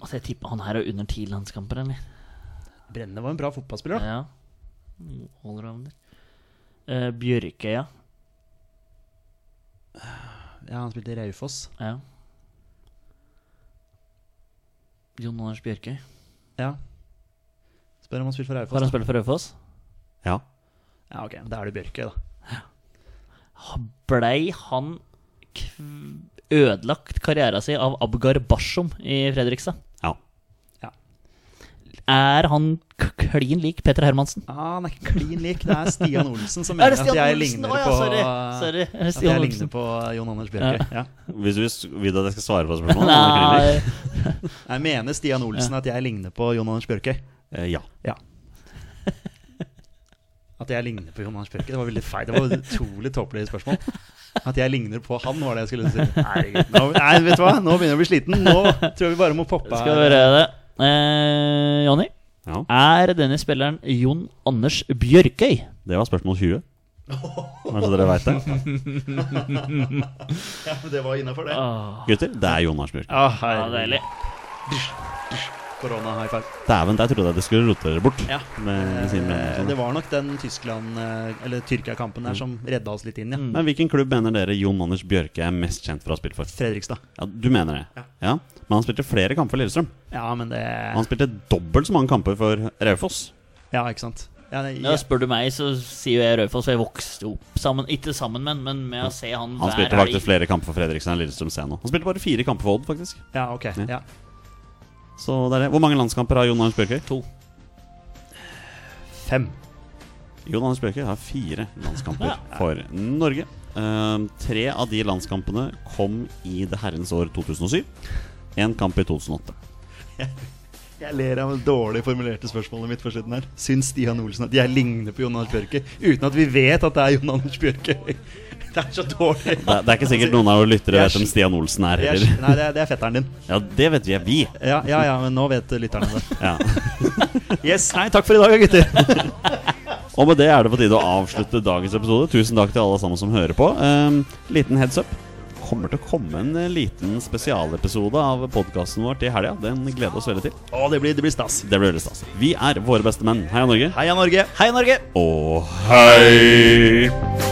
Altså, jeg tipper han her er under ti landskamper, eller?
Brenne var en bra fotballspiller. da.
Ja. Mm, Allrounder. Eh, Bjørkøya.
Ja, Han spilte i Raufoss.
Ja. Jon Anders Bjørkøy.
Ja. Spør om han spilte for
Har han
Raufoss. da.
spilt for Raufoss?
Ja.
Ja, ok, Da er det Bjørkøy, da.
Blei han kv- ødelagt karriera si av Abgar Bashum i Fredrikstad?
ja.
Er han k- klin lik Peter Hermansen?
Ah, han er ikke klin lik. Det er Stian Olsen som
*laughs* Er
mener
det
at Altså,
Stian
jeg
Olsen?
ligner
Å ja,
på
sorry. Sorry, er det
At
Stian
jeg
Olsen?
ligner på Jon Anders Bjørkøy. Ja.
Hvis du s- vil at jeg skal svare på spørsmålet?
Nei,
Jeg mener Stian Olsen at jeg ligner på Jon Anders Bjørkøy.
Eh, ja.
Ja. At jeg ligner på Jon Anders Bjørke. Det var veldig feil. Det var et utrolig tåpelig spørsmål. At jeg ligner på han, var det jeg skulle si. Herregud, Nå, nei, vet du hva? Nå begynner jeg å bli sliten. Nå tror jeg vi bare må poppe
skal vi gjøre det. Eh, Jonny,
ja.
er denne spilleren Jon Anders Bjørkøy?
Det var spørsmål 20. Kanskje dere veit det.
Ja, men det var innafor, det.
Gutter, det er Jonas Bjørk.
Ah,
Ja, deilig.
Korona high five.
Dæven, der trodde jeg dere skulle rote dere bort.
Ja.
Med, med sine meninger og
Eh,
sånn.
Det var nok den Tyskland- eh, eller
Mm.
Tyrkia-kampen der som redda oss litt inn, ja.
Men hvilken klubb mener dere Jon Anders Bjørke er mest kjent for å ha spilt for?
Fredrikstad.
Ja, Du mener det? Ja. Men han spilte flere kamper for Lillestrøm.
Ja, men det
Han spilte dobbelt så mange kamper for Raufoss.
Ja, ikke sant. Ja, det,
Ja, spør du meg, så sier jo jeg Raufoss. for Jeg vokste jo opp sammen, ikke sammen, men, men med å se han
Han
hver
spilte faktisk
helg.
flere kamper for Fredrikstad og Lillestrøm C nå. Han spilte bare fire kamper for Odd, faktisk.
ja ok. Ja.
Så det er det. Hvor mange landskamper har Jon Anders Bjørkøy? To.
Fem.
Jon Anders Bjørkøy har fire
*laughs*
landskamper
Ja.
for Norge. Ehm, tre av de landskampene kom i det herrens år 2007. Én kamp i 2008.
Jeg ler av det dårlig formulerte spørsmålet mitt for slutten her. Syns Stian Olsen at jeg ligner på Jon Anders Bjørke, uten at vi vet at det er Jon Anders Bjørke? Det er så dårlig.
Det, det er ikke sikkert noen av våre lyttere vet hvem Stian Olsen er
Altså, Jeg,
heller.
nei, det er, det er fetteren din.
Ja, det vet vi. Vi.
Ja, ja, ja, men nå vet lytterne det.
Ja.
Yes, nei, takk for i dag, gutter.
Og med det er det på tide å avslutte dagens episode. Tusen takk til alle sammen som hører på. Ehm, liten heads up. Kommer til å komme en eh, liten spesialepisode av podkasten vår til helga. Den gleder vi oss veldig til.
Å, det blir, det blir stas.
Det blir veldig stas. Vi er våre beste menn. Heia Norge.
Heia Norge. Heia Norge.
Og hei!